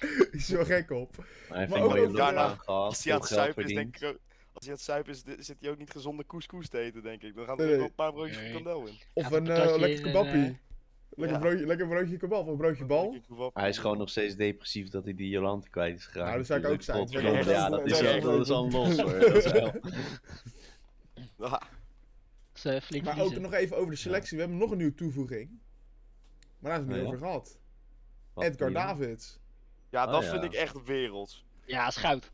A: Die is wel gek op.
B: hij heeft
A: Maar
B: een
A: ook
B: mooie
A: over-
B: look
D: daarna-
B: aan gehad,
D: Als hij
B: veel
D: aan het
B: geld
D: zuipen is,
B: verdiend.
D: denk ik ook- Als hij aan het zuipen is, de- zit hij ook niet gezonde couscous te eten, denk ik. Dan gaat
A: Nee,
D: er
A: nee.
D: ook wel een paar broodjes
C: Nee.
D: frikandel in.
A: Of
C: Gaat een
A: een eh,
C: patatje
A: lekker
C: in en,
A: kebappie.
C: eh,
A: lekker,
D: ja.
A: broodje, lekker broodje kebab of broodje bal.
D: Lekker kebab.
B: Hij is gewoon nog steeds depressief dat hij die Jolante kwijt is geraakt.
A: Nou, dat zou ik ook
B: natuurlijk.
A: zijn.
B: Godverdomme, Ja, dat
D: Terecht.
B: is
D: Terecht. Ah,
B: echt dat is al los hoor. Dat is wel-
D: Ja.
C: echt eh, flink
A: Maar ook
C: verliezen.
A: nog even over de selectie. We hebben nog een nieuwe toevoeging. Maar daar is het niet
B: Oh, ja?
A: over gehad.
B: Wat
A: Edgar
B: hier?
A: Davids.
D: Ja,
B: Oh,
D: dat
B: ja.
D: vind ik echt werelds.
C: Ja, is goud.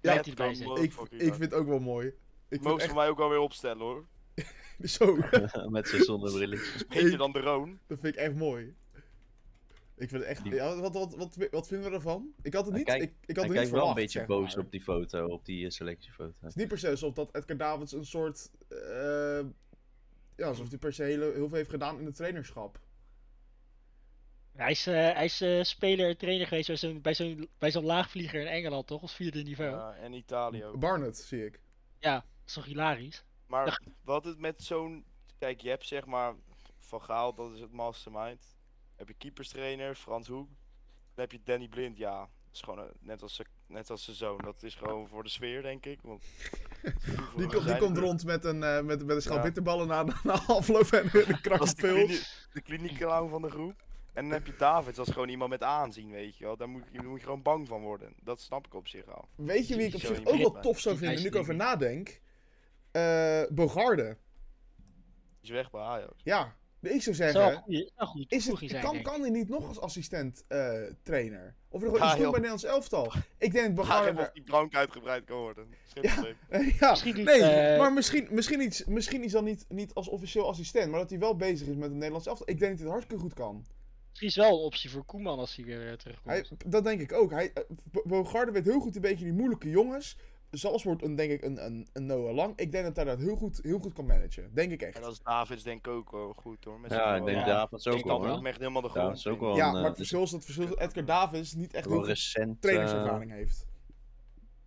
A: Ja,
C: Blijft hij erbij zitten.
A: Ik, ik vind het ook wel mooi. Ik
D: Mogen
A: vind
D: ze
A: echt...
D: mij ook wel weer opstellen hoor.
A: Zo,
B: Met zijn zonnebrilletjes.
D: Beter
A: Ik-
D: dan de Roon.
A: dat vind ik echt mooi. Ik vind het echt...
B: Die-
A: Ja, wat, wat, wat, wat vinden we ervan? Ik had het
B: Hij
A: niet...
B: kijkt-
A: ik, ik had het
B: Hij
A: niet
B: kijkt wel
A: verwacht,
B: een beetje
A: zeg
B: boos
A: maar.
B: op die foto, op die eh, selectiefoto.
A: Het is niet per se alsof dat Edgar Davids een soort... eh, ja, alsof hij per se hele- heel veel heeft gedaan in het trainerschap.
C: Hij is, eh, hij is eh, speler en trainer geweest bij zo'n, bij, zo'n, bij zo'n laagvlieger in Engeland, toch? Als vierde niveau.
D: Ja, eh, en Italië ook.
A: Barnett, zie ik.
C: Dat is toch hilarisch?
D: Maar wat het met zo'n. Kijk, je hebt zeg maar. Van Gaal, dat is het mastermind. Heb je keeperstrainer, Frans Hoek. Dan heb je Danny Blind, ja. Dat is gewoon eh, net, als, zijn- net als zijn zoon. Dat is gewoon voor de sfeer, denk ik. Want
A: Die,
D: We
A: komt- die
D: zijn-
A: komt rond met een, eh, met, met een schap
D: Ja.
A: bitterballen na, na, na afloop en weer een
D: Dat is de,
A: krachtpil.
D: klinie, de kliniekclown van de groep. En dan heb je Davids, dat is gewoon iemand met aanzien, weet je wel. Daar moet, je- daar moet je gewoon bang van worden. Dat snap ik op zich al.
A: Weet je wie ik op
D: Sorry,
A: zich ook wel
D: maar-
A: tof zou
C: die
A: vinden, nu ik
C: ijsding.
A: over nadenk? Eh Bogarde.
D: Die is weg bij Ajax.
A: Ja, ik zou
C: Dat zou wel een
A: zeggen...
C: goeie- zou een goede
A: Is
C: toevoeging
A: het,
C: zijn,
A: kan,
C: denk ik.
A: kan hij niet nog als assistent eh, trainer? Of er gewoon
D: Ja,
A: iets doen
D: joh.
A: bij Nederlands elftal? Ik denk dat
D: Vraag
A: Bogarde...
D: hem of die blank uitgebreid kan worden. Schitterend.
A: ja,
C: Misschien doet,
A: Nou, nee,
C: eh,
A: maar misschien, misschien, iets, misschien iets dan niet, niet als officieel assistent, maar dat hij wel bezig is met het Nederlands elftal. Ik denk dat hij het hartstikke goed kan.
C: Misschien is wel een optie voor Koeman als hij weer eh, terugkomt.
A: Hij, dat denk ik ook. Hij, eh, Bo- Bogarde weet heel goed een beetje die moeilijke jongens. Zoals wordt een, denk ik een, een, een Noah Lang. Ik denk dat hij dat heel goed, heel goed kan managen. Denk ik echt.
D: En als Davids denk ik ook wel goed hoor. Met
B: Ja, ik denk
C: Ja.
B: Davids ook
D: Ik
B: wel.
D: kan
B: hoor.
D: hem echt helemaal de
B: Davids
D: grond
B: ook
D: in.
B: wel.
A: ja,
B: een,
A: maar
B: eh,
A: het
B: dus
A: verschil is dat, verschil is dat Edgar Davids niet echt heel
B: wel
A: veel
B: recent. eh,
A: trainerservaring heeft.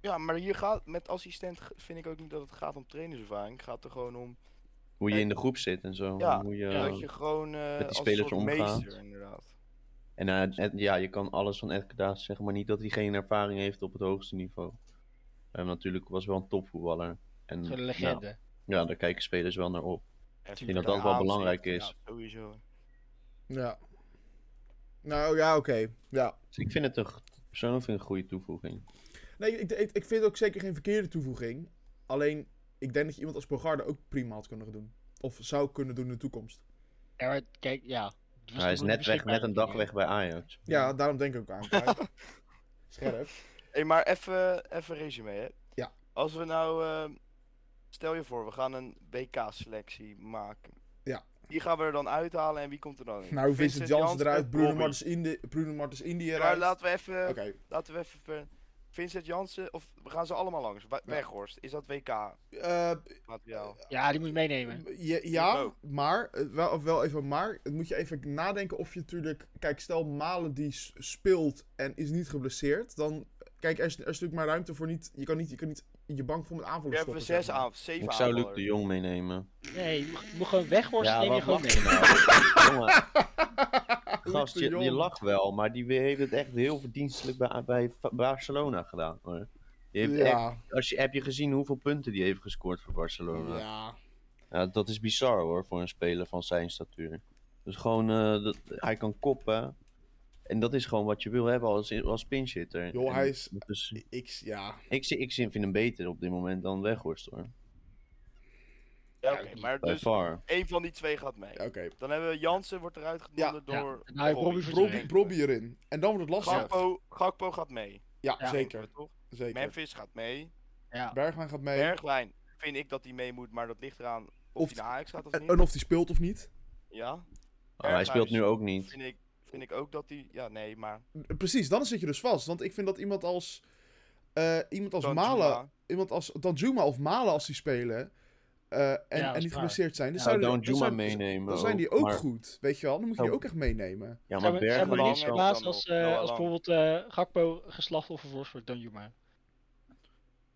D: Ja, maar hier gaat, met assistent g- vind ik ook niet dat het gaat om trainerservaring. Het gaat er gewoon om
B: hoe je in de groep zit en zo.
D: Ja,
B: hoe je,
D: dat je gewoon eh
B: die
D: als een
B: spelers
D: soort
B: omgaat.
D: meester inderdaad.
B: En eh, Ed- ja, je kan alles van Edgar Davids zeggen, maar niet dat hij geen ervaring heeft op het hoogste niveau. Hij natuurlijk was wel een topvoetballer. En,
C: Zo'n
B: nou,
C: legende.
B: ja, daar kijken spelers wel naar op.
D: Ik
B: denk dat dat wel belangrijk is.
D: Ja, sowieso.
A: Ja. Nou ja, oké. Ja.
B: Dus ik vind het een, g- persoonlijk vind ik een goede toevoeging.
A: Nee, ik, ik, ik vind het ook zeker geen verkeerde toevoeging. Alleen, ik denk dat je iemand als Bogarde ook prima had kunnen doen. Of zou kunnen doen in de toekomst.
C: Ja, maar kijk, ja. Die was
B: hij is
C: toen
B: net, weg,
C: beschikbaar
B: net een dag
C: natuurlijk.
B: weg bij Ajax.
A: Ja, daarom denk ik ook aan. Kai. Scherp.
D: Hey, maar even even resume hè.
A: Ja.
D: Als we nou, eh, stel je voor, we gaan een WK-selectie maken.
A: Ja.
D: Wie gaan we er dan uithalen en wie komt er dan in?
A: Nou, Vincent Janssen
D: Janssen
A: eruit,
D: of
A: Bruno
D: Bobby?
A: Martens Indi- Bruno Martens Indië
D: Maar
A: eruit.
D: laten we even,
A: Oké,
D: laten we even, ver- Vincent Jansen, of we gaan ze allemaal langs. Wa-
A: Ja.
D: Weghorst, is dat WK-materiaal?
A: eh,
C: Ja, die moet je meenemen.
A: je- ja,
D: ook.
A: maar, eh, wel, of wel even maar, het moet je even nadenken of je natuurlijk, kijk, stel Malen die s- speelt en is niet geblesseerd, dan, kijk, er is, er is natuurlijk maar ruimte voor niet, je kan niet je, kan niet je bank vol met
D: Je
A: aanvallen
D: hebt
A: stoppen.
D: we zes
A: zeg maar.
D: aan, zeven
B: Ik zou Luc
D: aanvallers.
B: de Jong meenemen.
C: Nee, je mag- je moet gewoon weghorsten neem je gewoon
B: wacht
C: mee.
B: je nou? Jongen,
A: Luc
B: Gast,
A: de
B: je,
A: Jong.
B: je lacht wel, maar die heeft het echt heel verdienstelijk bij, bij Fa- Barcelona gedaan. Hoor. Die heeft echt-
A: Ja,
B: als je, heb je gezien hoeveel punten die heeft gescoord voor Barcelona?
A: ja.
B: Ja, dat is bizar hoor, voor een speler van zijn statuur. Dus gewoon, eh, dat, hij kan koppen. En dat is gewoon wat je wil hebben als, als pinchitter.
A: Joh,
B: En
A: hij is-
B: dat is-
A: Ik, ja.
B: ik, zie- ik zie- vind hem beter op dit moment dan Weghorst hoor.
D: Ja, oké, maar
B: By
D: dus
B: far.
D: één van die twee gaat mee.
A: Oké.
D: Dan hebben we Jansen wordt eruit genomen
C: Ja,
D: door.
C: en dan heb je Robbie voor
A: Brobby, Brobby erin. En dan wordt het lastig.
D: Gakpo, Gakpo gaat mee.
A: Ja,
C: Ja.
A: zeker.
D: Toch?
A: zeker.
D: Memphis gaat mee.
C: Ja.
A: Bergwijn gaat mee.
D: Bergwijn vind ik dat hij mee moet, maar dat ligt eraan of,
A: Of-
D: hij naar Ajax gaat of
A: En
D: niet.
A: en of die speelt of niet.
D: Ja,
B: Ah, hij
A: dus
B: speelt nu ook niet.
D: vind ik, vind ik ook dat hij. Ja, nee, maar.
A: Precies, dan zit je dus vast. Want ik vind dat iemand als. eh, iemand als
D: Danjuma,
A: Malen. Iemand als Danjuma of Malen als die spelen. eh, en,
C: dat
A: en niet
C: is waar.
A: geblesseerd zijn. Dan
B: Ja,
A: zouden-
B: dan
A: dan
B: Juma
A: zijn-
B: meenemen.
A: Dan zijn die ook
B: maar-
A: goed. Weet je wel, dan moet je die
B: Oh.
A: ook echt meenemen.
B: Ja, maar
C: Zou we- zou we
D: Bergwijn
B: Bergwijn
C: niks
B: is
D: is wel-
C: verbaasd
D: dan nog.
C: als,
D: Wel
C: eh als
D: lang.
C: bijvoorbeeld eh Gakpo geslachtoffer wordt voor Danjuma.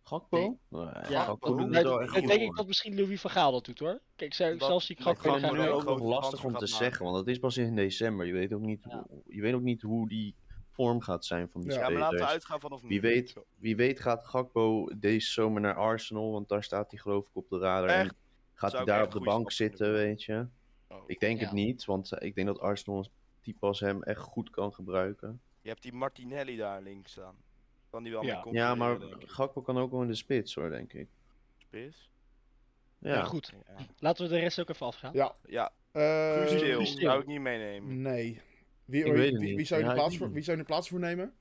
B: Gakpo?
C: Ja,
B: Gakpo doet
D: dat-
B: het wel
C: Nou,
D: dat
B: echt
D: goed,
C: ik denk
B: goed.
C: ik dat misschien Louis van Gaal dat doet hoor. Kijk, zou,
D: Dat-
C: zelfs die
D: dat
B: Ik
C: Gakpo
B: vind het
C: gaan
D: Gakpo
B: nu
D: een
B: ook
C: werken.
D: grote
B: nog lastig
D: transfer
B: om te
D: gaat maken.
B: zeggen, want dat is pas in december. Je weet ook niet,
C: Ja.
B: je weet ook niet hoe, die vorm gaat zijn van die
A: Ja.
D: Ja, maar
B: spelers.
D: laten we uitgaan vanaf nu.
B: Wie weet, wie weet gaat Gakpo deze zomer naar Arsenal, want daar staat hij geloof ik op de radar. En
D: Echt?
B: gaat
D: Zou
B: hij
D: ik
B: daar
D: echt
B: op de
D: goede
B: bank
D: stap vinden.
B: zitten, weet je.
D: Oh.
B: Ik denk
C: Ja.
B: het niet, want eh, ik denk dat Arsenal een type als hem echt goed kan gebruiken.
D: Je hebt die Martinelli daar links staan. Kan die wel
C: Ja.
D: mee
B: ja,
D: concurreren,
B: maar
D: denk ik.
B: Gakpo kan ook wel in de spits hoor, denk ik.
D: Spits.
B: Ja.
C: Maar goed,
A: Eh,
C: laten we de rest ook even afgaan.
A: Ja.
D: Ja.
A: Eh,
D: Guus Til
C: Guus Til.
D: zou ik niet meenemen.
A: nee. Wie,
B: Ik weet het
A: wie,
B: niet.
A: wie zou je de
B: Ja, ik
A: plaats
B: weet
A: voor,
B: niet.
A: wie zou je de plaats voor nemen?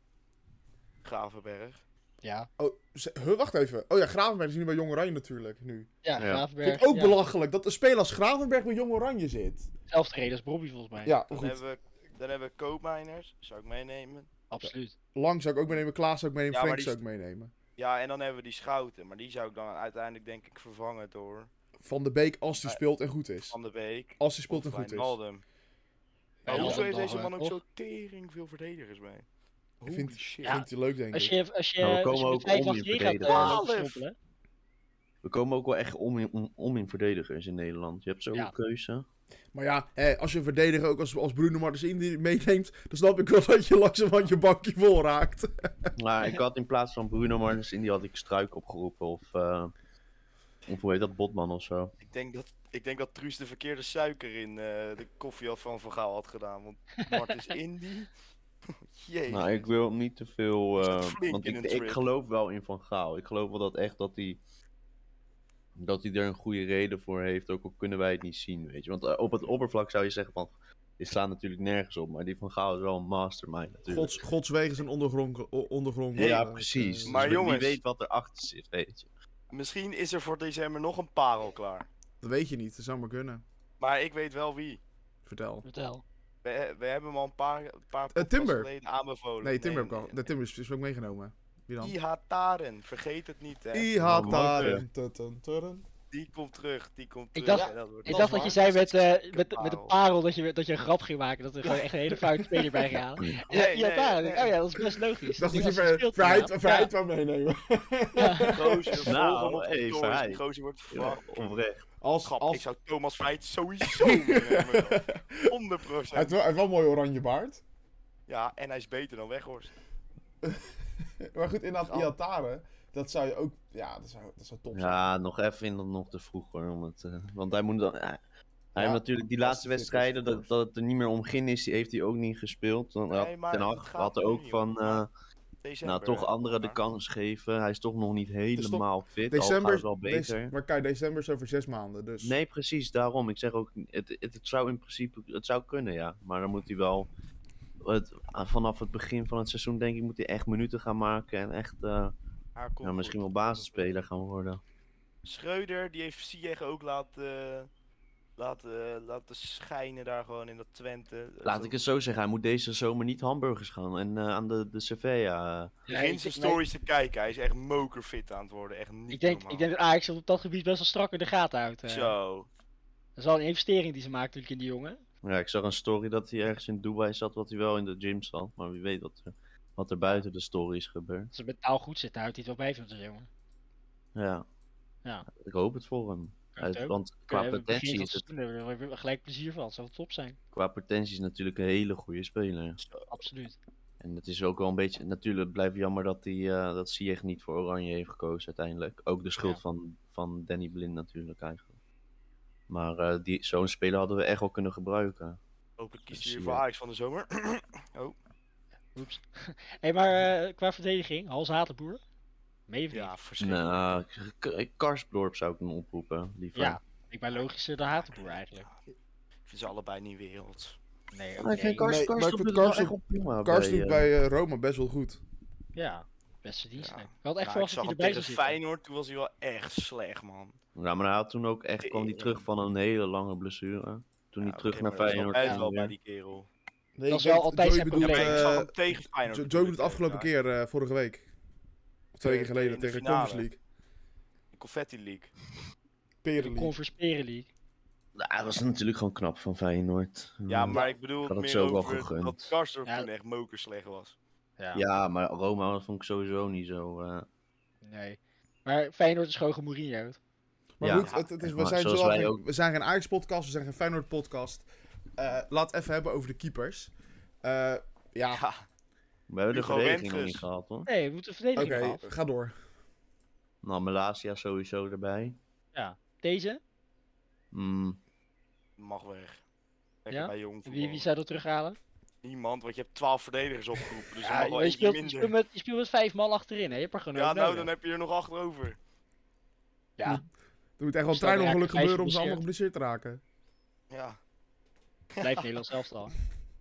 D: Gravenberg.
C: Ja,
A: Oh, ze- huh, wacht even. Oh ja, Gravenberg is nu bij Jong Oranje natuurlijk. Nu.
C: ja,
B: Ja.
A: Vind
C: Gravenberg.
A: ik ook
C: ja.
A: belachelijk dat de speler als Gravenberg bij Jong Oranje zit.
C: Zelfde reden als Bobby volgens mij.
A: Ja,
D: Dan
A: goed.
D: hebben, we, dan hebben we Koopmijners, zou ik meenemen.
C: Absoluut.
A: Lang zou ik ook meenemen, Klaas zou ik meenemen,
D: Ja, maar
A: Frank
D: die
A: zou ik meenemen.
D: Ja, en dan hebben we die Schouten. Maar die zou ik dan uiteindelijk denk ik vervangen door
A: Van de Beek als hij
D: Ja.
A: speelt en goed is.
D: Van de Beek.
A: Als hij speelt
D: Of
A: en goed is.
D: Wijnaldum.
A: Ja,
D: Maar hoezo
A: dan
D: heeft deze man ook
C: toch?
D: zo tering veel verdedigers mee? Holy
A: vind-
D: shit.
A: Vindt hij leuk, denk
C: Als
A: ik.
C: je, als je,
B: Nou, we
C: als je
B: komen
C: met
B: ook
C: vijf
B: om in
C: achterin gaat eh,
B: verdediging.
C: lopen
D: Twaalf!
C: schoppelen,
B: We komen ook wel echt om in, om, om in verdedigers in Nederland. Je hebt zo'n
C: Ja.
B: keuze.
A: Maar ja, hè, als je een verdediger ook als, als Bruno Martens die meeneemt, dan snap ik wel dat je langzamerhand je bankje vol raakt.
B: Maar ik had in plaats van Bruno Martens in, die had ik Struik opgeroepen. Of, eh, of hoe heet dat, Botman of zo.
D: Ik denk dat, ik denk dat Truus de verkeerde suiker in eh, de koffie had van Van Gaal had gedaan. Want Martens Indy. Jee.
B: Nou, ik wil hem niet te veel.
D: Is
B: eh,
D: dat flink
B: want
D: in
B: ik,
D: een
B: ik
D: trip?
B: geloof wel in Van Gaal. Ik geloof wel dat echt dat hij. Dat hij er een goede reden voor heeft. Ook al kunnen wij het niet zien, weet je. Want eh, op het oppervlak zou je zeggen van. Dit slaat natuurlijk nergens op. Maar die Van Gaal is wel een mastermind natuurlijk.
A: Gods, gods wegen zijn ondergrond. o- ondergrond
B: ja,
A: eh,
B: precies.
A: eh,
B: Dus
D: Maar
B: wie-
D: jongens-
B: Wie weet wat erachter zit, weet je.
D: Misschien is er voor december nog een parel klaar.
A: dat weet je niet, dat zou maar kunnen.
D: Maar ik weet wel wie.
A: Vertel.
C: vertel.
D: We, we hebben hem al een paar, een paar podcasts
A: Eh, Timber.
D: geleden aanbevolen.
A: Nee, Timber heb ik al. De Timber is, is ook meegenomen. Wie dan?
D: IH Taren, vergeet het niet hè.
A: Iha
B: Oh,
A: Taren. Tun, tun, tun.
D: Die komt terug, die komt
C: Ik
D: terug.
C: dacht-
D: en dat wordt-
C: Ik dacht dat je zei met, eh, met, met een
D: parel.
C: parel dat je, dat je een grap ging maken. Dat er gewoon echt een hele foute speler bij ging halen. En dan-
D: Nee,
C: ja,
D: nee,
C: daar, dan denk ik,
D: nee.
C: Oh ja, dat is best logisch.
A: Ik dacht
C: Die
A: dat je
C: gast
A: ver,
C: speelt
A: verheid,
C: inderdaad.
A: verheid wou meenemen.
C: Ja, ja.
D: Gozer, volg
B: Nou,
D: hem op de
B: hey,
D: stories,
B: Verheid.
D: die Gozer wordt
B: Ja,
D: fuck.
B: oprecht.
A: Als,
D: Grap, ik
A: als,
D: zou Thomas Veit sowieso meenemen. joh. 100%.
A: hij heeft wel, hij heeft wel een mooi oranje baard.
D: Ja, en hij is beter dan Weghorst.
A: Maar goed, inderdaad,
D: Ja.
A: Iha Taren, dat zou je ook... Ja, dat zou, dat zou top zijn.
B: Ja, nog even in dat nog te vroeg hoor. Om het, eh, want hij moet dan. hij- hij
A: Ja,
B: heeft natuurlijk die
A: als
B: laatste
A: hij fit is,
B: wedstrijden
A: of
B: dat,
A: course.
B: dat het er niet meer om ging is, die heeft hij ook niet gespeeld. Dan had
D: Nee, maar
B: Ten
D: het
B: Hag
D: gaat
B: had er
D: nu
B: ook
D: niet
B: van,
D: om.
B: eh, nou
D: eh,
B: toch anderen de
D: kant.
B: kans geven. Hij is toch nog niet helemaal fit, al gaat
A: December,
B: het wel
A: dec-
B: beter.
A: maar kijk, december is over zes maanden, dus...
B: Nee, precies, daarom. Ik zeg ook, het, het, het zou in principe, het zou kunnen ja. Maar dan moet hij wel, het, ah, vanaf het begin van het seizoen denk ik, moet hij echt minuten gaan maken. En echt eh, ja, misschien wel basisspeler gaan worden.
D: Schreuder, die heeft Sieg ook laten, laten, eh, laten schijnen daar gewoon in dat Twente.
B: Laat ik het zo zeggen, hij moet deze zomer niet hamburgers gaan en eh, aan de, de Cervea. eh,
D: Geen
C: ik-
D: zijn
C: nee,
D: stories te kijken, hij is echt mokerfit aan het worden. Echt niet
C: Ik denk, ik denk dat Ajax op dat gebied best wel strak in de gaten houdt. eh.
D: Zo.
C: Dat is wel een investering die ze maakt natuurlijk in die jongen.
B: Ja, ik zag een story dat hij ergens in Dubai zat, wat hij wel in de gym zat. Maar wie weet wat er, wat er buiten de story is gebeurd.
C: Als ze mentaal goed zitten, houdt hij het wel bij van zo'n jongen.
B: Ja.
C: Ja.
B: Ik hoop het voor hem.
C: Kan het
B: Hij-
C: ook.
B: want
C: Kunnen
B: qua
C: we hebben begin
B: potentie,
C: van
B: is het,
C: seizoen, Daar hebben we- hebben we gelijk plezier van. Dat zou wel top zijn.
B: qua potentie is het natuurlijk een hele goede speler.
C: Absoluut.
B: En het is ook wel een beetje... Natuurlijk blijft jammer dat, hij, eh dat Ziyech niet voor Oranje heeft gekozen uiteindelijk. Ook de schuld
C: Ja.
B: van, van Danny Blind natuurlijk eigenlijk. Maar eh, die, zo'n speler hadden we echt wel kunnen gebruiken.
D: Hopelijk kiest
B: Zie
D: hij weer
B: je.
D: voor Ajax van de zomer.
C: Oeps. hey, maar eh, qua verdediging, Hans Hatenboer. Mee of niet?
D: ja, verschrikkelijk.
B: Nou, K- Karsdorp zou ik hem oproepen, liever.
C: Ja, ik ben logischer dan Hatenboer eigenlijk.
D: Ik vind ze allebei niet wereld.
C: Nee,
B: Maar ik vind
A: Kar-
C: nee.
B: Kars,
A: Nee, maar ik
B: Karsdorp
A: vind
B: doet het wel
A: Karsdorp-
B: echt wel prima
A: Kars doet
B: eh,
A: bij eh, Roma best wel goed.
C: Ja, best verdienstelijk.
D: Ja.
C: Ik had echt
D: Nou, ik
C: verwacht
D: zag
C: dat hij
D: hem
C: erbij zou
D: tegen
C: zitten.
D: Feyenoord, toen was hij wel echt slecht, man.
B: Ja, maar hij had toen ook echt, kwam hij
D: Eh.
B: terug van een hele lange blessure. Toen
D: Ja,
B: hij terug
D: oké,
B: naar
D: maar dat is
B: Feyenoord
D: altijd
B: ging
D: wel
B: weer.
D: bij die kerel.
A: Nee,
C: Dat
A: ik
C: is wel
A: weet-
C: altijd
A: Joey
C: zijn
A: bedoelt,
D: Ja,
C: probleem.
D: maar ik zag
A: eh,
D: hem tegen Feyenoord.
A: Jo- Joey
D: natuurlijk,
A: bedoelt afgelopen
D: eh,
A: keer, eh, vorige week. Of twee
D: Eh,
A: weken geleden
D: in de
A: tegen de
D: finale.
A: Conference League.
D: daar. Confetti League.
A: Peren
C: De
A: League.
C: Conference Premier League.
B: Ja, dat was natuurlijk gewoon knap van Feyenoord. Eh,
D: Ja, maar ik bedoel
B: had
D: het
B: het
D: meer
B: zo wel
D: over
B: gegund.
D: dat Karsdorp
C: Ja.
D: toen echt mokerslecht was.
C: Ja.
B: Ja, maar Roma dat vond ik sowieso niet zo... eh,
C: Nee. Maar Feyenoord is gewoon gemourinho.
A: Maar
B: Ja.
A: goed, het, het is, we,
B: Maar
A: zijn
B: zoals
A: zoals
B: wij
A: een-
B: ook.
A: we zijn geen Ajax-podcast, we zijn geen Feyenoord-podcast. Eh, laat even hebben over de keepers. Eh, ja,
D: Ja,
B: we hebben de
D: Hugo
B: verdediging nog
D: Rentges.
B: niet gehad, hoor.
C: Nee, we moeten
A: oké,
C: verdedigen af.
A: ga door.
B: Nou, Malasia sowieso erbij.
C: Deze?
B: Mm,
D: mag weg. Lekker
C: Ja?
D: bij jong
C: Wie, wie
D: voetbal.
C: zou dat terughalen?
D: Niemand, want je hebt 12 verdedigers opgeroepen, dus je
C: Ja,
D: mag wel
C: je,
D: eentje
C: speelt, je,
D: minder.
C: speelt met, je
D: nou,
C: speelt met vijf man achterin, hè? Je hebt er gewoon
D: Ja,
C: ook
D: nou,
C: nodig.
D: dan heb je er nog acht over.
C: Ja,
A: Er moet echt wel een
C: Stel, raak
A: treinongeluk
C: een meisje
A: gebeuren om ze allemaal geblesseerd te raken.
D: Ja.
C: Blijft Nederland zelfs al.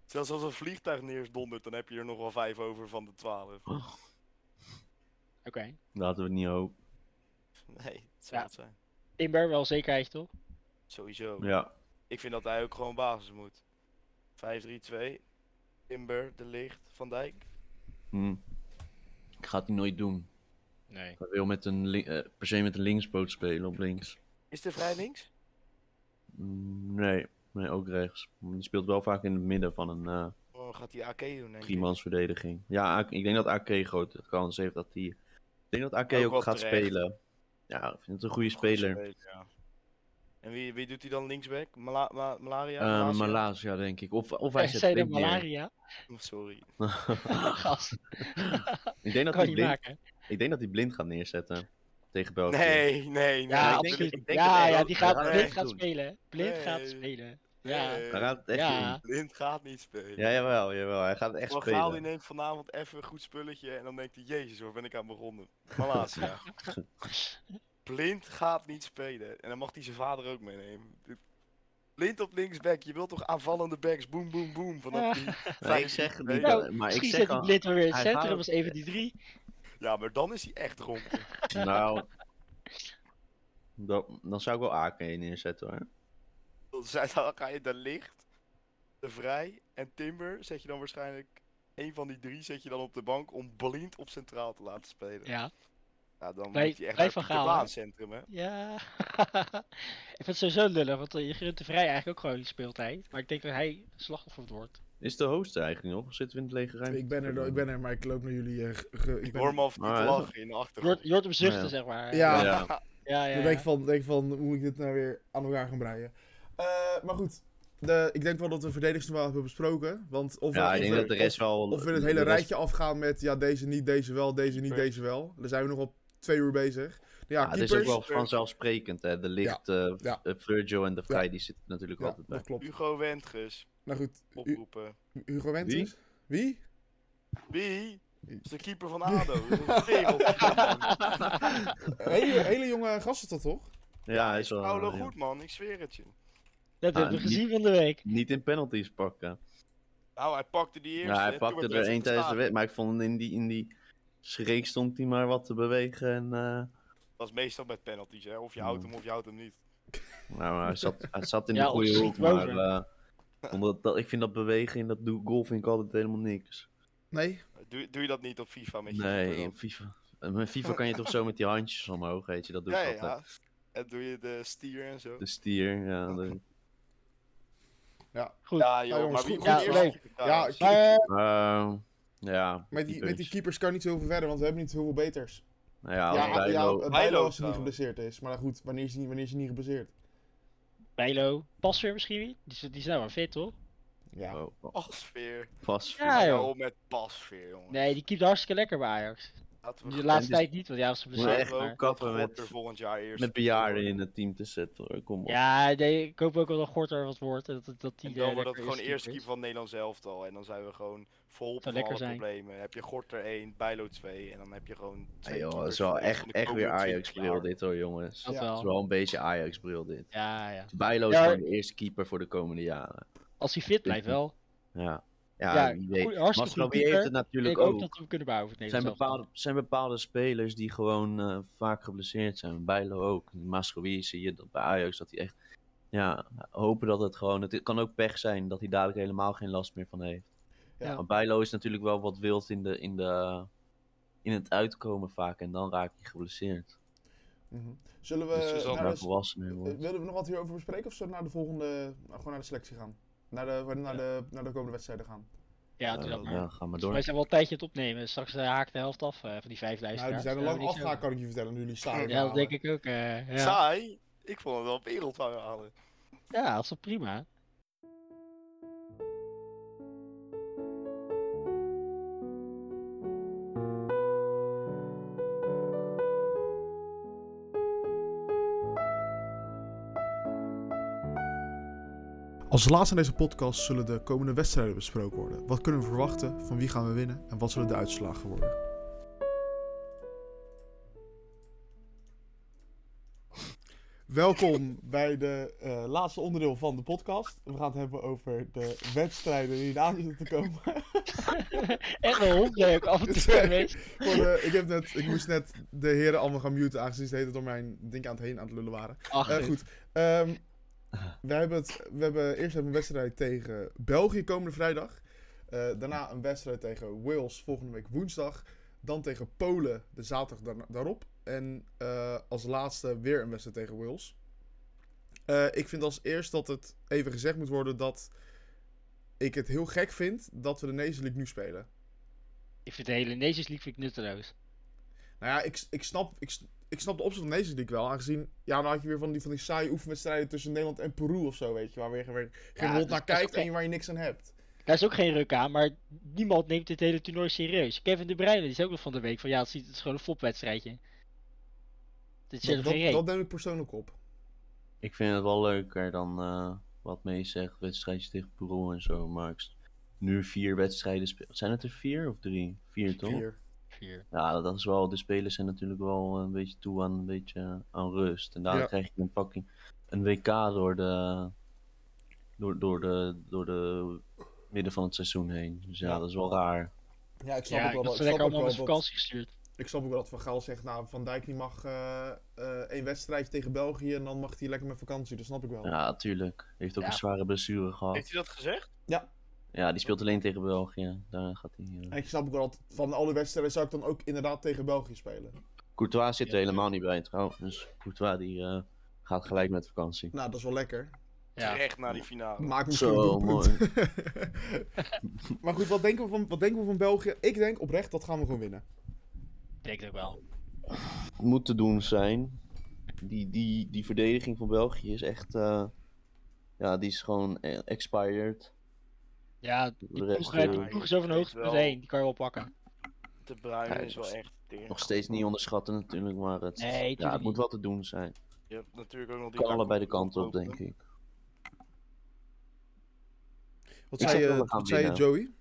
D: Zelfs als een vliegtuig neersdondert, dan heb je er nog wel vijf over van de twaalf.
C: Oké.
B: Laten we het niet hopen.
D: Nee, het zou
C: Ja.
D: het zijn.
C: Timber, wel zekerheid toch?
D: Sowieso.
B: Ja.
D: Ik vind dat hij ook gewoon basis moet. 5-3-2. Timber, De Licht, Van Dijk.
B: Hm. Ik ga het nooit doen.
C: Nee.
B: Ik wil met een li- eh, per se met een linksboot spelen op links.
D: Is de vrij links?
B: Mm, Nee, nee, ook rechts. Je speelt wel vaak in het midden van een eh
D: Oh, gaat hij AK doen, denk ik.
B: driemansverdediging. Ja, AK ik denk dat AK grote kans heeft dat hij... Ik denk dat AK
D: Ook
B: ook,
D: wel
B: gaat
D: terecht.
B: spelen. Ja, ik vind het een goede
D: Goeie
B: speler.
D: ja. En wie, wie doet hij dan linksback? Mala ma- malaria?
B: Eh
D: Malasia?
B: Malasia, denk ik. Of, of hij
C: Zij
B: zet
C: zei de
B: Blind neer.
C: malaria.
D: Oh, Sorry.
C: Gast,
B: Ik denk dat
C: kan
B: hij
C: je
B: blind,
C: maken.
B: ik denk dat hij blind gaat neerzetten tegen België.
D: Nee, nee, nee.
C: Ja,
B: ik denk-
C: absoluut.
B: ik denk dat
C: Ja,
B: hij
C: ja,
B: ook-
C: die
B: hij
C: gaat,
D: gaat het
C: blind
D: echt
C: gaat
B: doen.
C: spelen. Blind
D: Nee.
C: gaat spelen. Ja.
D: Nee,
B: Hij gaat het echt
C: Ja.
B: doen.
D: Blind gaat niet spelen.
B: Jawel, jawel. Hij gaat het echt
D: Van Gaal die
B: spelen.
D: neemt vanavond even een goed spulletje en dan denkt hij, jezus hoor, ben ik aan begonnen. Malasia. Blind gaat niet spelen. En dan mag hij zijn vader ook meenemen. Dit- Blind op linksback, je wilt toch aanvallende backs, boom, boom, boom. Vanaf
C: Ah,
D: die
B: Maar ik zeg het niet.
D: Nou,
B: dat- maar ik
C: Misschien
B: zeg
C: zet hij
B: al,
C: blind maar weer in het
B: hij gaat
C: centrum
B: het-
C: als even die drie.
D: Ja, maar dan is hij echt rond.
B: Nou, dat, dan zou ik wel AK neerzetten hoor.
D: Dan zijn- Dan ga je de licht, de vrij en Timber zet je dan waarschijnlijk. Een van die drie zet je dan op de bank om blind op centraal te laten spelen.
C: Ja.
D: Nou, dan
C: Wij-
D: moet je echt
C: wij
D: naar
C: van
D: Pieter
C: Gaal, hè?
D: Baan centrum, hè?
C: Ja. ik vind het sowieso lullig, want eh, je gunt de Vrij eigenlijk ook gewoon die speeltijd. Maar ik denk dat hij slachtoffer wordt.
B: Is de host er eigenlijk nog? Of zitten we in het lege ruimte?
A: Ik ben er, ik ben er, maar ik loop naar jullie. eh, ge- ge- ik
D: Ik
A: ben,
D: hoor hem al niet
B: Ah, ja.
D: lachen in de achtergrond.
C: Jort, Jort hem zuchten,
B: Ja.
C: zeg maar.
A: Ja.
B: Ja.
C: ja, ja.
A: Dan
C: ja.
A: denk ik van, denk ik van, hoe moet ik dit nou weer aan elkaar gaan breien? Eh, maar goed, de, ik denk wel dat we verdedigingsnormaal hebben besproken. Want of,
B: Ja,
A: of
B: ik denk
A: we-
B: dat de rest wel...
A: of, of we het hele
B: Eh, de rest-
A: rijtje afgaan met, ja, deze niet, deze wel, deze niet,
C: Keeper.
A: deze wel. Daar zijn we nog op twee uur bezig. Ja,
B: Ja, het
A: keepers.
B: Ah, is ook wel vanzelfsprekend hè. De licht, eh
A: ja.
B: eh, Virgil en de Vrij, die zitten natuurlijk
A: Ja,
B: altijd bij.
A: dat klopt.
D: Hugo Wendges,
A: Nou goed, Hu-
D: oproepen.
A: Hugo Wentes? Wie?
D: Wie? Dat is de keeper van ADO. Dat is een wereldkeeper, man.
A: Eh, Hele, hele jonge gast is dat toch?
B: Ja, hij is wel... eh,
D: Paolo
B: ja.
D: goed, man. Ik zweer het je.
C: Dat
B: Ah,
C: hebben we
B: niet-
C: gezien van de week.
B: Niet in penalties pakken.
D: Nou, hij pakte die eerste.
B: Ja, hij
D: en toen
B: pakte
D: werd
B: er één tijdens
D: wedstrijd
B: de
D: gestaakt.
B: wedstrijd, maar ik vond in die, in die schreek stond hij maar wat te bewegen. En, eh,
D: Dat is meestal met penalties, hè. Of je houdt hem of je houdt hem niet.
B: nou, hij zat, hij zat in
C: Ja,
B: de goede
C: schiet
B: hoek,
C: hem
B: maar
C: over.
B: eh, omdat, dat, ik vind dat bewegen in dat doe- goal vind ik altijd helemaal niks.
A: Nee?
D: Doe, doe je dat niet op FIFA met je keeper
B: Nee,
D: dan?
B: in FIFA, eh, met FIFA kan je toch zo met die handjes omhoog, weet je, dat doe ik
D: Ja,
B: altijd.
D: ja. En doe je de stier en zo.
B: De stier, ja. de-
C: Goed.
D: Ja,
A: Ja,
D: joh,
A: jongens,
D: maar wie
A: goed-
D: wie
C: goed
D: eerst-
C: leuk.
A: Ja,
D: Ja,
C: Maar,
B: Ehm, ja,
A: Met die, met die
B: keepers.
A: keepers kan je niet zo heel veel verder, want we hebben niet heel veel beters.
B: Nou ja, als
A: ja,
B: Bijlo-
A: ja,
D: Bijlo
A: als hij niet
D: trouwens.
A: geblesseerd is. Maar goed, wanneer is hij, wanneer is hij niet geblesseerd?
C: Bijlo, Pasveer misschien weer? Die, is- die is nou maar fit, toch?
A: Ja.
B: Oh, oh,
D: Pasveer.
B: pas.
C: Ja,
D: Ja,
C: joh.
D: joh, met pasveer, jongen.
C: Nee, die keept hartstikke lekker bij Ajax.
D: Laten we
C: De
B: En dus-
C: laatste tijd niet, want ja, was
B: Moet je
C: geblesseerd.
B: echt
C: maar-
B: ook kappen
D: Gort er
B: met,
D: volgend jaar eerst.
B: met bejaarden in het team te zetten. hoor. Kom op.
C: Ja, nee, ik hoop ook wel dat Gorter wat wordt. en Dat, dat die
D: En
C: eh,
D: dan wordt dat
C: lekker
D: gewoon eerste
C: keeper
D: keeper van Nederland zelf al. En dan zijn we gewoon
C: Zou
D: volop van
C: lekker
D: alle
C: zijn.
D: problemen. Dan heb je Gorter 1, Bijlo 2. En dan heb je gewoon
B: Ja,
D: twee
B: Ah, joh, het
D: keepers
B: is wel
D: voor de rest
B: echt,
D: van de
B: echt weer
D: komende 20
B: Ajax-bril
D: jaar.
B: dit hoor, jongens.
C: is. Dat
A: Ja.
B: Het is
C: wel.
B: wel een beetje Ajax-bril dit.
C: Ja, ja.
B: Bijlo is
C: Ja.
B: gewoon de eerste keeper voor de komende jaren.
C: Als hij fit blijft wel.
B: Ja,
C: Ja,
B: ja, wie weet.
C: goeie- hartstikke
B: Mascarpé
C: goede keeper.
B: heeft het
C: Ik
B: natuurlijk
C: denk
B: ook.
C: ook dat we hem kunnen behouden. voor het
B: zijn,
C: Nederlands elftal.
B: bepaalde, zijn bepaalde spelers die gewoon eh, vaak geblesseerd zijn. Bijlo ook. Mascowie zie je dat bij Ajax dat hij echt... Ja, hopen dat het gewoon... Het kan ook pech zijn dat hij dadelijk helemaal geen last meer van heeft.
A: Ja.
B: Want Bijlo is natuurlijk wel wat wild in, de, in, de, in het uitkomen vaak. En dan raakt hij geblesseerd.
A: Mhm. Zullen
B: dus
A: we...
B: als hij
A: naar
B: daar
A: de,
B: volwassen in
A: eh,
B: wordt.
A: willen we nog wat hierover bespreken of zullen we naar de volgende... nou, gewoon naar de selectie gaan? Naar de, naar de, naar de, komende wedstrijden gaan?
C: Ja, doe
B: Eh,
C: dat maar.
B: ja, ga maar
C: Wij
B: door.
C: zijn wel een tijdje aan het opnemen. Straks eh, haakt de helft af eh, van die vijf
A: Nou, die
C: luisteraars.
A: zijn al
C: Ja,
A: lang
C: die zijn-
A: afgehaakt, kan ik je vertellen, nu jullie staan.
C: Ja, dat denk ik ook. eh, ja.
D: Saai? Ik vond het wel wereldverhalen.
C: ja, dat is wel prima.
A: Als laatste in deze podcast zullen de komende wedstrijden besproken worden. Wat kunnen we verwachten, van wie gaan we winnen en wat zullen de uitslagen worden? Welkom bij de eh, laatste onderdeel van de podcast. We gaan het hebben over de wedstrijden die eraan zitten te komen.
C: Echt een hondleuk af en toe.
A: Sorry.
C: weet je.
A: Voor de- ik, heb net, ik moest net de heren allemaal gaan muten, aangezien ze de hele tijd door mijn ding aan het heen aan het lullen waren.
C: Ach,
A: Eh, goed. Ehm, we, hebben het, we hebben eerst even een wedstrijd tegen België komende vrijdag. Eh, daarna een wedstrijd tegen Wales volgende week woensdag. Dan tegen Polen de zaterdag daarna- daarop. En eh, als laatste weer een wedstrijd tegen Wales. Eh, ik vind als eerst dat het even gezegd moet worden dat ik het heel gek vind dat we de Nation League nu spelen.
C: Ik vind de hele Nations League vind ik nutteloos.
A: Nou ja, ik, ik, snap, ik, ik snap de opzet van deze natuurlijk wel. Aangezien, ja, dan had je weer van die, van die saaie oefenwedstrijden tussen Nederland en Peru of zo, weet je. Waar weer geen, geen
C: Ja,
A: rot
C: dat-
A: naar
C: dat is
A: kijkt
C: gek.
A: en waar je niks aan hebt.
C: Daar is ook geen ruk aan, maar niemand neemt dit hele toernooi serieus. Kevin De Bruyne die is ook nog van de week van ja, het is, het is gewoon een fopwedstrijdje. Dit is
A: Dat,
C: helemaal geen
A: dat, dat
C: reet.
A: neem ik persoonlijk op.
B: Ik vind het wel leuker dan eh, wat mee zegt, wedstrijdjes tegen Peru en zo. Maar ik s- nu vier wedstrijden spelen. Zijn het er vier of drie? Vier toch?
A: Vier.
C: Vier.
B: Ja, dat is wel. De spelers zijn natuurlijk wel een beetje toe aan een beetje eh, aan rust. En daar
A: Ja.
B: krijg je een fucking een WK door de door, door de door de midden van het seizoen heen. Dus ja,
A: Ja.
B: dat is wel raar.
A: Ja, ik snap
C: Ja,
A: ook wel.
C: dat
A: dat-
C: ze
A: Ik snap,
C: lekker
A: ook
C: allemaal
A: wel
C: met
A: dat,
C: vakantie gestuurd.
A: ik snap ook wel dat Van Gaal zegt, nou, Van Dijk die mag eh, eh, één wedstrijdje tegen België en dan mag hij lekker met vakantie. Dat snap ik wel.
B: Ja, tuurlijk. Heeft ook
C: Ja.
B: een zware blessure
D: Heeft
B: gehad.
D: hij dat gezegd?
B: Ja, die speelt alleen tegen België. Daar gaat hij. eh.
A: En ik snap ook wel dat van alle wedstrijden zou ik dan ook inderdaad tegen België spelen.
B: Courtois zit er helemaal niet bij trouwens. Dus Courtois die eh, gaat gelijk met vakantie.
A: Nou, dat is wel lekker.
C: Ja.
D: Terecht na die finale.
A: Maak misschien
B: Zo,
A: een doelpunt. maar goed, wat denken, we van, wat denken we van België? Ik denk oprecht, dat gaan we gewoon winnen.
C: Ik denk het ook wel.
B: Moet te doen zijn. Die, die, die verdediging van België is echt. eh, ja, die is gewoon eh, expired.
C: Ja, die
B: De rest,
C: ploeg, eh, die
B: eh,
C: ploeg is over een
D: weet
C: hoogtepunt
D: wel.
C: heen. Die kan je wel pakken.
D: De
B: Ja,
D: Bruyne
B: dat
D: is wel
B: is-
D: echt teer.
B: Nog steeds niet onderschatten natuurlijk, maar het,
C: Nee,
B: ja,
C: tuurlijk
B: het moet
C: niet.
B: wel te doen zijn.
D: Je hebt natuurlijk ook nog die
B: kan allebei de
D: daar-
B: kanten op, denk ik.
A: Wat
B: Ik
A: zei,
B: zeg
A: je,
B: wel, we gaan
A: wat zei je,
B: winnen.
A: Joey?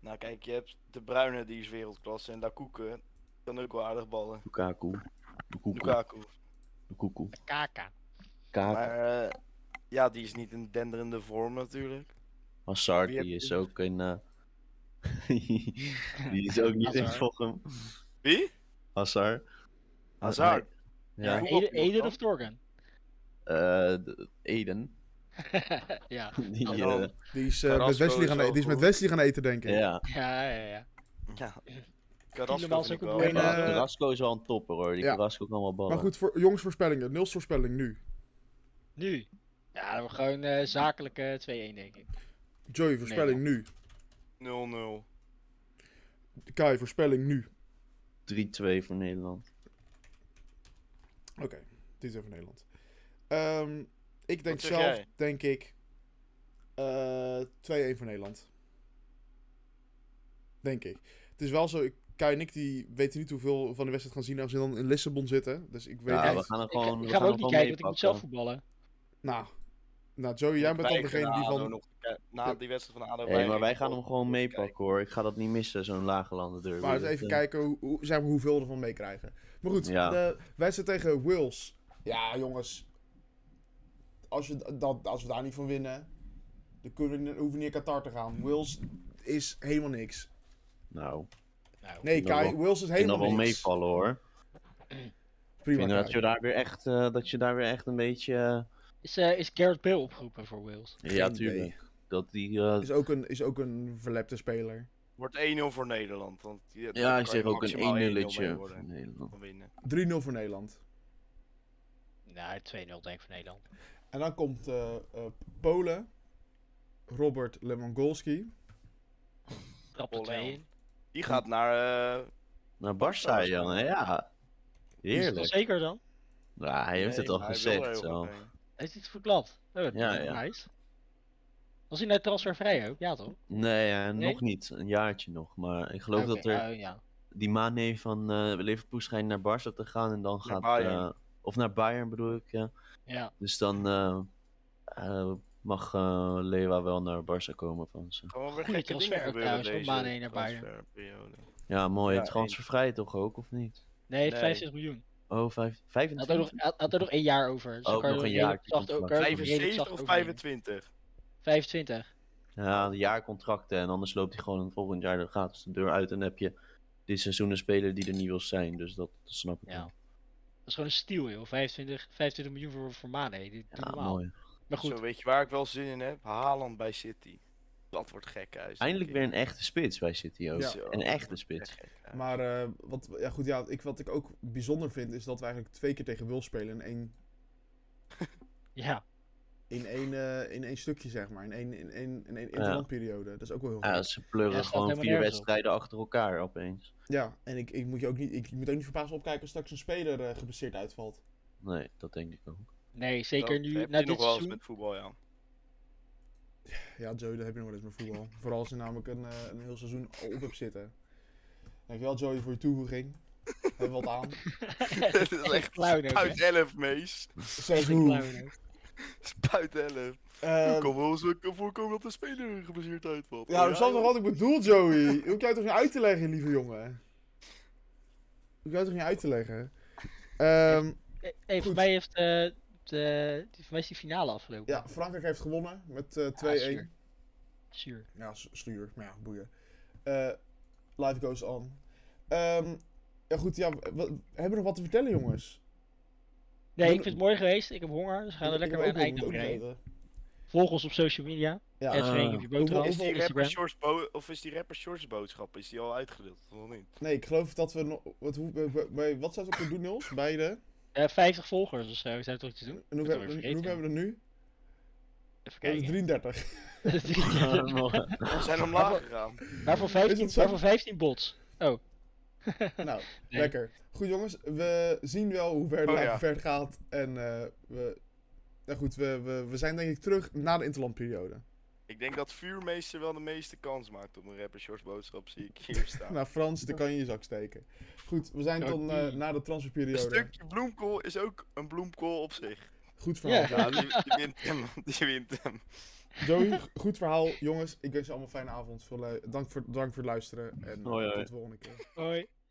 D: Nou kijk, je hebt de Bruyne die is wereldklasse en Lukaku kan ook wel aardig ballen.
B: Lukaku. Lukaku.
D: Lukaku.
B: Lukaku.
C: Kaka.
B: Lukaku.
D: Maar eh, ja, die is niet in denderende vorm natuurlijk.
B: Hazard,
D: wie heb
B: die
D: je-
B: is ook in... eh, die is ook niet in
C: Hazard.
B: Fochum.
D: Wie?
B: Hazard.
D: Hazard.
B: Ja.
D: Hoe
C: Eden,
D: op, jongens,
C: Eden
D: dan?
C: of Torgan?
B: Eh, de- Eden.
C: ja.
B: Die,
D: En
B: eh,
D: dan-
A: Die is, eh,
D: Carrasco
A: met Wesley
D: is
A: gaan,
D: wel
A: e- die is met
D: goed.
A: Wesley gaan eten, denk ik.
B: ja.
C: Ja, ja, ja.
D: Ja.
C: Tielemans
D: Carrasco vind
C: ook
D: ik
C: een
D: wel.
A: En,
B: Maar
A: mooie- eh,
B: Carrasco is wel een topper hoor. Die
A: ja.
B: Carrasco kan wel ballen.
A: Maar goed, voor, jongens, voorspellingen. Nils voorspelling nu.
C: Nu. Ja, dan gewoon eh zakelijke 2-1 denk ik.
A: Joey, voorspelling nu.
D: 0-0.
A: Kai, voorspelling nu.
B: 3-2 voor Nederland.
A: Oké, dit is over Nederland. Ehm, ik denk
D: zeg
A: zelf,
D: jij?
A: denk ik, eh 2-1 voor Nederland. Denk ik. Het is wel zo, ik, Kai en ik die weten niet hoeveel van de wedstrijd gaan zien als ze dan in Lissabon zitten. Dus ik weet
B: Ja,
A: niet.
B: we gaan er
C: Ik,
B: gewoon.
C: ik
B: we
C: ga
B: gaan
C: hem
B: er
C: ook niet kijken, want ik moet
B: gewoon
C: zelf
B: mee pakken.
C: voetballen.
A: Nou, nou, Joey, jij bent dan
D: Wij
A: degene
D: kunnen
A: die
D: ADO
A: van...
D: nog- Na die wedstrijd van ADO...
B: Hé, maar wij gaan hem
D: nog
B: gewoon
D: kijken.
B: meepakken hoor. Ik ga dat niet missen, zo'n lage landen derby.
A: Maar eens
B: Dat,
A: even
B: eh,
A: kijken hoe, hoe, zeg maar, hoeveel we ervan meekrijgen. Maar goed,
B: Ja.
A: de wedstrijd tegen Wales. Ja, jongens. Als we, d- dat, als we daar niet van winnen, dan kunnen we, niet- hoeven we niet naar Qatar te gaan. Wales is helemaal niks.
B: Nou,
C: Nou,
A: Nee,
B: vind dat
A: Kai,
B: wel-
A: Wales is
B: ik vind dat
A: helemaal
B: wel
A: niks.
B: meevallen hoor. Ik
A: Prima,
B: vind dat
A: Kai.
B: je daar weer echt, eh, dat je daar weer echt een beetje. eh,
C: Is, eh is Garrett Bale opgeroepen voor Wales?
B: ja,
A: idee.
B: tuurlijk. Dat die. eh,
A: Is ook een, is ook een verlepte speler.
D: Wordt 1-0 voor Nederland. Want die- daar
B: ja,
D: kan
B: ik zeg
D: je
B: ook
D: maximaal
B: een 1
D: 1-0 mee
B: nulletje
D: worden
B: voor
D: en
B: Nederland.
D: dan winnen.
A: 3-0 voor Nederland.
C: Nou, 2-0 denk ik voor Nederland.
A: En dan komt eh, eh, Polen. Robert Lewandowski.
C: Trap er
D: Olé.
C: 2 in.
D: Die gaat naar... eh,
B: Naar Barça,
D: Barca.
B: Jan, ja.
C: Is het wel
B: Heerlijk.
C: zeker dan?
B: Nou, hij heeft
D: nee,
B: het al
D: maar hij wil er
B: gezegd.
D: heel
B: Zo.
D: graag heen.
C: Heeft hij het verklapt? Oh, dat
B: Ja,
C: is
B: ja.
C: Nice. Was hij nou transfervrij ook? Ja toch?
B: Nee, eh,
C: Nee?
B: nog niet. Een jaartje nog. Maar ik geloof
C: Oké,
B: dat
D: eh,
B: er.
C: oh, ja.
B: die Mane van eh Liverpool schijnt naar Barca te gaan en dan
D: Naar
B: gaat... eh,
D: Bayern.
B: of naar Bayern bedoel ik, eh, ja.
C: ja.
B: Dus dan eh, eh, mag eh, Lewa wel naar Barca komen van ze.
D: Gewoon weer
C: Goeie
D: gekke dingen
C: transfer ook
D: gebeuren
C: trouwens,
D: deze
C: van Mane naar Bayern.
D: transferperiode.
B: Ja, mooi.
D: Ja,
B: transfervrij toch ook, of niet?
C: Nee,
D: Nee.
C: 65 miljoen.
B: Oh, Oh, vijf,
C: Hij had er nog,
B: 25?
C: hij had er nog één jaar over. Dus
B: Oh,
C: dan kan je
B: nog
C: er
B: een
C: redelijk
B: jaar, die
C: zacht
B: contract.
C: ook- kan je er redelijk
D: 75
C: zacht
D: of
C: overheen.
D: 25?
C: 25.
B: Ja, een jaar contracten en anders loopt hij gewoon het volgend jaar de gratis de deur uit. En dan heb je dit seizoen een speler die er niet wil zijn. Dus dat, dat snap ik.
C: Ja.
B: wel.
C: Dat is gewoon een steal, joh. 25, 25 miljoen voor, voor Mane. Dit- dit
B: ja
C: normaal.
B: mooi.
C: Maar goed,
D: Zo, weet je waar ik wel zin in heb? Haaland bij City. Dat wordt gek uit.
B: Eindelijk weer een echte spits bij City ook.
A: Ja.
D: Zo,
B: Een
D: dat
B: echte
D: wordt
B: spits.
D: echt gek uit.
A: Maar eh, wat, ja, goed, ja, ik, wat ik ook bijzonder vind, is dat we eigenlijk twee keer tegen Wil spelen in één,
C: ja.
A: in één, eh, in één stukje, zeg maar. In één, in één, in één interlandperiode. Dat is ook wel heel
B: Ja,
A: goed.
B: ze pleuren
C: Ja, staat
B: gewoon
C: helemaal
B: vier
C: nergens op.
B: wedstrijden achter elkaar opeens.
A: Ja, en ik, ik moet je ook niet, ik moet ook niet verbaasd opkijken als straks een speler eh, geblesseerd uitvalt.
B: Nee, dat denk ik ook.
C: Nee,
D: Dat
C: zeker
D: heb
C: nu,
D: je
C: na
D: nog
C: dit
D: wel eens
C: seizoen.
D: met voetbal, ja.
A: Ja, Joey, dat heb je nog wel eens met voetbal. Vooral als je namelijk een, eh, een heel seizoen al op hebt zitten. Dankjewel Joey voor je toevoeging. Hebben we wat aan.
D: Dat is echt
C: clown ook, hè?
D: spuit 11, mees.
A: Zelfs
C: Geen
A: hoe.
C: klauwen ook.
D: Spuit 11.
A: Ehm,
D: Het kan wel eens voorkomen dat de speler geblesseerd uitvalt.
A: ja, dat is nog wat ik bedoel, Joey. Hoef jij toch niet uit te leggen, lieve jongen? Hoef jij toch niet uit te leggen? Ehm,
C: Eh, hey, voor
A: Goed.
C: mij heeft eh, de, die- voor mij is die finale afgelopen.
A: ja, Frankrijk heeft gewonnen met eh, 2-1.
C: zuur. Zuur.
A: Ja, s- sluur. Maar ja, boeien. Eh, life goes on. Ehm, ja, goed. Ja, w- w- hebben we nog wat te vertellen, jongens?
C: Nee,
A: Doe-
C: ik vind het mooi geweest. Ik heb honger, dus we gaan
A: Ik-
C: er
A: ik
C: lekker
A: heb
C: bij
A: ook
C: een eind
A: wel-
C: aan
A: moet ook
C: breien.
A: weten.
C: Volg ons op social media.
A: Ja.
C: Het
B: eh,
C: Vereniging van Boterham
A: hoeveel-
C: op
D: Is die rapper
C: Instagram.
D: Shorts bo- of is die rapper Shorts boodschap, is die al uitgedeeld? Of nog niet?
A: Nee, ik geloof dat we nog. Wat, hoe, bij- bij- bij- wat zou het ook weer doen, Niels? Bij de.
C: Eh, 50 volgers of zo, zou toch iets te doen?
A: En hoe,
C: Dat
A: hebben,
C: heb ik
A: en
C: vergeten.
A: hoe hebben we er nu?
C: Even
A: We hebben
C: kijken.
A: 33.
B: mooi.
D: We zijn omlaag gegaan.
C: maar, voor
A: Is dat
C: 15,
A: zo?
C: maar voor 15 bots.
A: nou,
C: Nee.
A: lekker. Goed, jongens. We zien wel hoe ver het
D: Oh,
A: live
D: ja.
A: ver gaat. En eh, we. Nou goed, we, we, we zijn denk ik terug na de interlandperiode.
D: Ik denk dat vuurmeester wel de meeste kans maakt op een rapper Shorts boodschap, zie ik hier staan.
A: Nou, Frans, dan kan je in je zak steken. Goed, we zijn
C: Ja,
A: tot
C: die.
A: eh, na de
D: Een
A: transferperiode.
D: stukje bloemkool is ook een bloemkool op zich.
A: Goed verhaal.
C: Ja.
A: Joey.
D: Ja, die, die wint hem. Die wint hem.
A: Nou, Joey, g- goed verhaal. Jongens, ik wens je allemaal een fijne avond. Veel lu- Dank voor, dank voor het luisteren. En
B: Hoi, hoi.
A: tot de volgende keer.
C: Hoi.